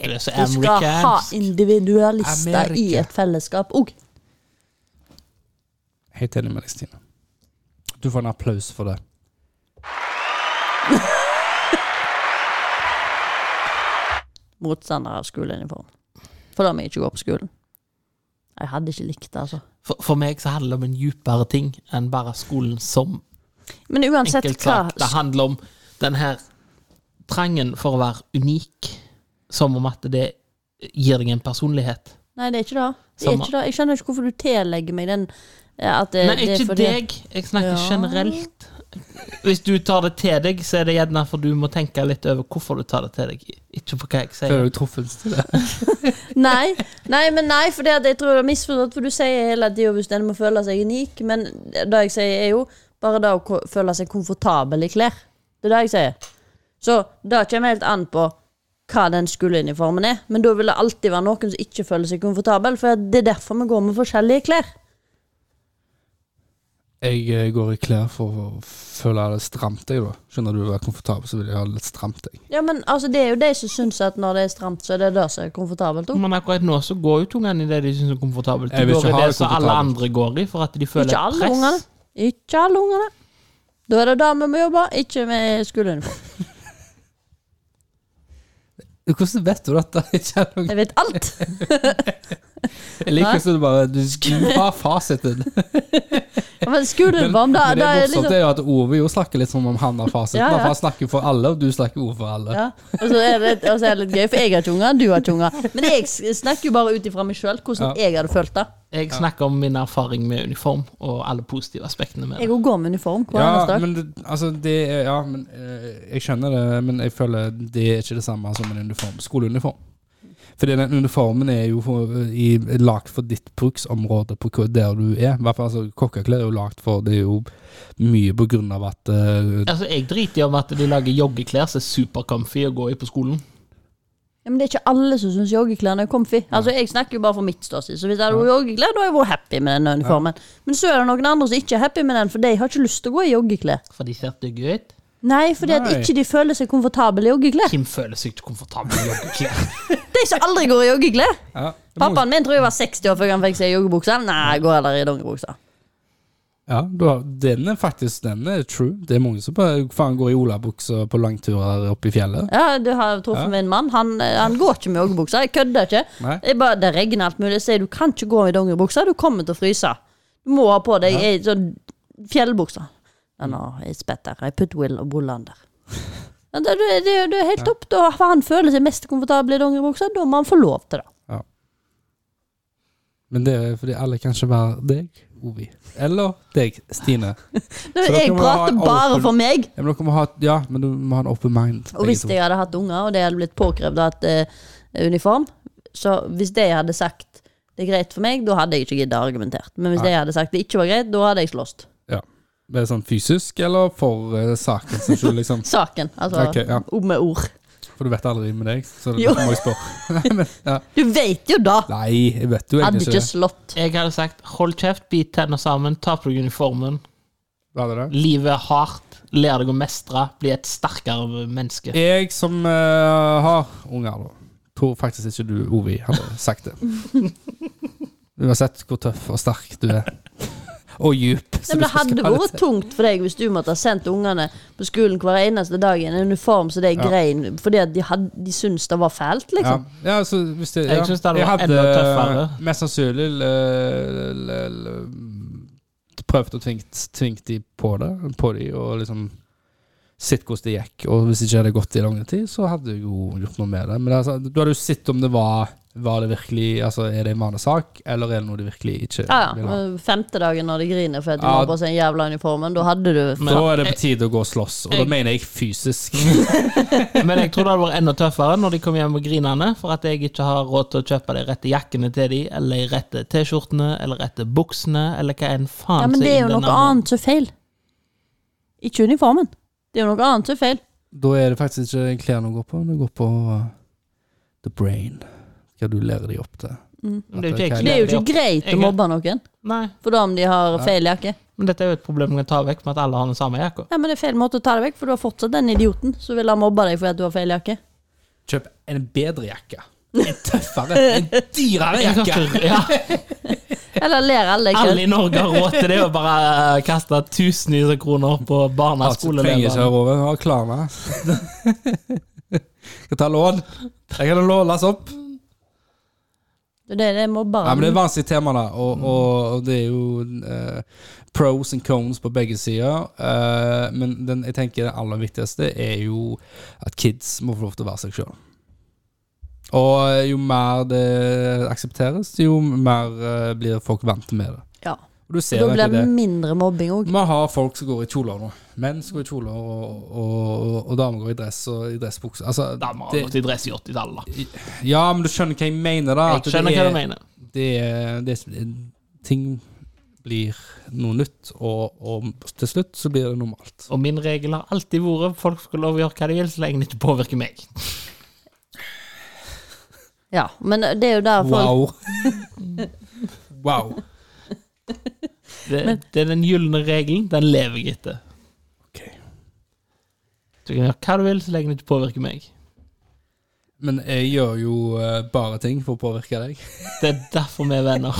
Det er så
Du skal ha
amerikansk.
individualister i
Amerika.
et fellesskap òg.
Helt enig med deg, Stine. Du får en applaus for det.
Motstandere av skoleuniform. For da må jeg ikke gå på skolen. Jeg hadde ikke likt det, altså.
For, for meg så handler det om en djupere ting enn bare skolen som
Men uansett
enkelt
hva
sagt. Det handler om den her trangen for å være unik, som om at det gir deg en personlighet.
Nei, det er ikke det. det, er
Samme.
ikke det. Jeg skjønner ikke hvorfor du tillegger meg den eh, at det,
Nei,
det er
ikke
fordi
deg. Jeg snakker
Ja.
generelt. Hvis du tar det til deg, så er det gjerne for du må tenke litt over hvorfor du tar det til deg, ikke på hva jeg sier.
Føler du truffet Stine?
Nei, nei, men nei, for det at jeg tror det er misforstått, for du sier hele tida hvis en må føle seg unik, men det jeg sier er jo bare det å ko- føle seg komfortabel i klær. Det er det jeg sier. Så det kommer helt an på hva den skoleuniformen er, men da vil det alltid være noen som ikke føler seg komfortabel, for det er derfor vi går med forskjellige klær.
Jeg eh, går i klær for å føle det stramt, jeg, da. Skjønner du, er komfortabel, så vil jeg ha det litt stramt, jeg.
Ja, men altså, det er jo de som syns at når det er stramt, så er det det som er komfortabelt òg.
Men akkurat nå så går jo ikke ungene i det de syns er komfortabelt.
Jeg
De
vil
går
ikke
i
ha
det
det
som alle
komfortabelt.
andre går i, for at de føler
Ikke
et
alle ungene.
press.
Ikke alle ungene. Da er det det vi må jobbe, ikke med skoleuniform.
Hvordan vet du dette? Jeg kjenner-
Jeg vet alt.
Jeg liker ikke at du bare Du, du har fasiten.
Ja, Men skoleuniform, da,
Men det
da er
er
det
morsomt
liksom
det er jo at Ove jo snakker litt som om han har fasiten.
Ja, ja.
da, For han snakker for alle, og du snakker ord for alle.
ja. Og så er det, og så er det litt gøy, for jeg har ikke unger, du har ikke unger. Men jeg s- snakker jo bare ut ifra meg sjøl, hvordan
Ja.
jeg hadde følt det.
Jeg snakker om min erfaring med uniform og alle positive aspektene med det.
Jeg òg går med uniform hver
Ja,
eneste dag.
men det, altså det er, ja, men eh, jeg skjønner det, men jeg føler det er ikke det samme som en uniform. Skoleuniform. Fordi den uniformen er jo for, i, lagt for ditt bruksområde på hvor, der du er. I hvert fall altså, Kokkeklær er jo lagt for Det er jo mye på grunn av at eh,
Altså, jeg driter i om at de lager joggeklær som er supercomfy å gå i på skolen.
Ja, men det er ikke alle som syns joggeklærne er comfy. Altså, jeg snakker jo bare for mitt ståsted, så hvis jeg hadde vært joggeklær, da hadde jeg vært happy med den uniformen. Men så er det noen andre som ikke er happy med den, for de har ikke lyst til å gå i joggeklær.
For de ser stygge ut.
Nei, fordi at
Nei.
ikke de føler seg komfortable i joggeklær.
Kim føler seg ikke komfortabel i joggeklær.
De som aldri går i joggeklær.
ja,
Pappaen min tror jeg var 60 år før han fikk seg joggebukse. Nei, jeg går heller i dongeribukse.
Ja, du har, den er faktisk den er true. Det er mange som bare faen går i olabukser på langturer oppe i fjellet.
Ja, du har truffet
Ja.
min mann. Han, eh, han går ikke med joggebukse. Jeg kødder ikke.
Nei.
Jeg bare, det regner alt mulig. Jeg sier du kan ikke gå med dongeribukse. Du kommer til å fryse. Du må ha på deg ei sånn fjellbukse. Den har jeg spetter. Jeg putter Will og Bolander. Men Det, det, det, det er helt topp. Da, for han føler seg mest komfortabel i dongeribukse. Da må han få lov til det.
Men det er fordi alle kan ikke være deg, Ovi. Eller deg, Stine.
Nå,
Så da
jeg
kan vi ha
prater
en
bare
open-
for meg.
Ja, men dere må ha, ja, men du må ha en open mind.
Og hvis
begge to.
jeg hadde hatt unger, og det hadde blitt påkrevd at eh, uniform, så hvis de hadde sagt det er greit for meg, da hadde jeg ikke giddet å argumentert. Men hvis
Nei.
de hadde sagt det ikke var greit, da hadde jeg slåss.
Ja. Er det sånn fysisk, eller for eh, saken som skyld, liksom?
Saken, altså
Ok, ja.
o- med ord.
For du vet aldri med deg, så det
Jo.
må jeg spørre.
Du vet jo da!
Nei, jeg vet jo
Hadde
egentlig
ikke
ikke det.
slått.
Jeg hadde sagt hold kjeft, bit tenner sammen, ta på deg uniformen.
Hva er det?
Livet er hardt, lær deg å mestre, bli et sterkere menneske.
Jeg som eh, har unger, da, tror faktisk ikke du, Ovi, hadde sagt det. Uansett hvor tøff og sterk du er. Og djup.
Nei, men det hadde vært tungt for deg hvis du måtte ha sendt ungene på skolen hver eneste dag i en uniform så de
Ja.
grein fordi at de, hadde, de syntes det var fælt,
Ja.
liksom.
ja, så hvis det, ja.
Jeg synes det hadde vært
hadde,
enda tøffere.
eh, Mest sannsynlig eh, l- l- prøvd å tvinge tvingt de på det, på de, og liksom sett hvordan det gikk. Og hvis ikke det hadde gått i lang tid, så hadde jeg jo gjort noe med det. Men altså, du hadde jo sett om det var Var det virkelig, altså Er det en vanesak, eller er det noe de virkelig ikke
Ja, ja.
vil ha?
men Femte dagen når de griner fordi de
Ja.
har på seg den jævla uniformen, da hadde du
Men-
da er det på tide å gå og slåss, og da
Jeg-
mener jeg fysisk.
Men jeg tror det hadde vært enda tøffere når de kom hjem og grinende, for at jeg ikke har råd til å kjøpe de rette jakkene til de, eller de rette T-skjortene, eller rette buksene, eller hva enn faen
Ja, men
som
det er jo
inne
noe
nærmere.
annet som er feil. Ikke uniformen. Det er jo noe annet som er feil.
Da er det faktisk ikke klærne å gå på, det går på uh, the brain. Skal du lære de opp til?
Men Det er jo ikke jeg som
Det
Det er jo
lærer de
ikke
opp.
greit
Jeg-
å mobbe noen
Nei,
for da om de har feil jakke.
men dette er jo et problem man kan ta vekk med at alle har den samme jakka.
Ja, men det er feil måte å ta det vekk, for du har fortsatt den idioten som vil ha mobba deg fordi du har feil jakke.
Kjøp en bedre jakke. En tøffere, en dyrere
Jeg kan
jakke.
ikke- Ja,
Eller ler alle ikke.
alle i Norge har råd til det, og bare eh, kaste tusenvis av kroner på barna
Altså, trenger ikke
skoleelever.
høre over, har klærne. Skal ta lån. Jeg kan lånes opp.
Det er det, det er mobberen.
Ja, men det er et vanskelig tema, da. Og, og, og det er jo eh, pros and cons på begge sider. Eh, men den, jeg tenker det aller viktigste er jo at kids må få lov til å være seg sjøl. Og eh, jo mer det aksepteres, jo mer eh, blir folk vant med det.
Ja.
Og du ser
Da
jo
blir
egentlig
det
det.
mindre mobbing òg.
Vi har folk som går i kjoler nå. Menn som går i kjoler, og, og, og, og damer går i dress og i dressbukse. Altså,
Damer har
det-
gått i dress i 80-tallet. da.
ja, men du skjønner hva jeg mener, da. at
Jeg
det
skjønner hva
er-
du mener.
det, er- det er- Ting blir noe nytt, og, og til slutt så blir det normalt.
Og min regel har alltid vært folk skal lov å gjøre hva de vil, så lenge det ikke påvirker meg.
Ja, men det er jo der folk
Wow. wow.
Det, det er den gylne regelen. Den lever jeg etter.
Ok.
Du kan gjøre hva du vil, så lenge det ikke påvirker meg.
Men jeg gjør jo eh, bare ting for å påvirke deg.
Det er derfor vi er venner.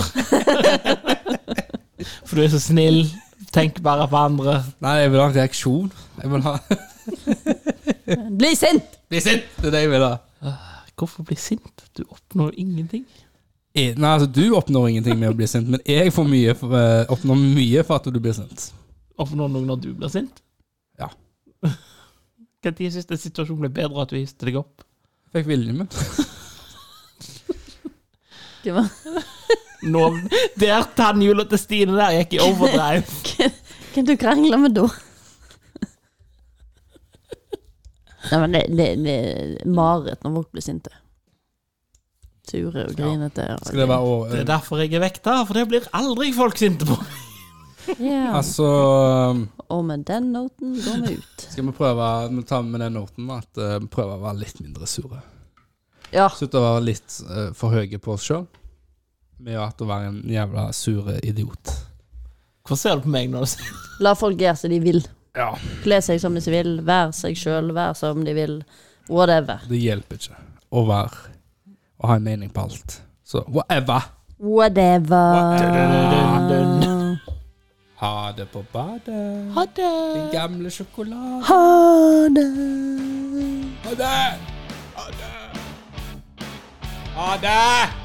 For du er så snill. Tenk bare på andre.
Nei, jeg vil ha en reaksjon. Jeg vil ha
Bli sint!
Bli sint! Det er det jeg vil ha.
Hvorfor bli sint? Du oppnår ingenting.
Eh, Nei, altså Du oppnår ingenting med å bli sint, men jeg får mye, for- eh, oppnår mye for at du blir sint.
Oppnår noe når du blir sint?
Ja.
Når syns du situasjonen ble bedre at du histe deg opp?
Fikk viljen min.
Hva
Nå, der tannhjula til Stine der gikk i overdrive.
kan du krangle med da? Nei, men det, det, det er mareritt når folk blir sinte. Sure og grinete. og-
Skal det være over?
Det er derfor jeg er vekta, for det blir aldri folk sinte på.
Ja.
Altså
Og med den noten går vi ut.
Skal vi prøve Vi tar med den noten at eh, vi prøver å være litt mindre sure.
Ja.
Slutte å være litt eh, for høye på oss sjøl. Med at å være en jævla sure idiot.
Hvordan ser du på meg når du sier
La folk gjøre som de vil.
Ja.
Kle seg som de vil, være seg sjøl, være som de vil. Whatever.
Det hjelper ikke å være Å ha en mening på alt. Så whatever.
Whatever.
Ha det på badet.
Ha det!
Den gamle sjokoladen.
Ha det.
Ha det! Ha det! Ha det!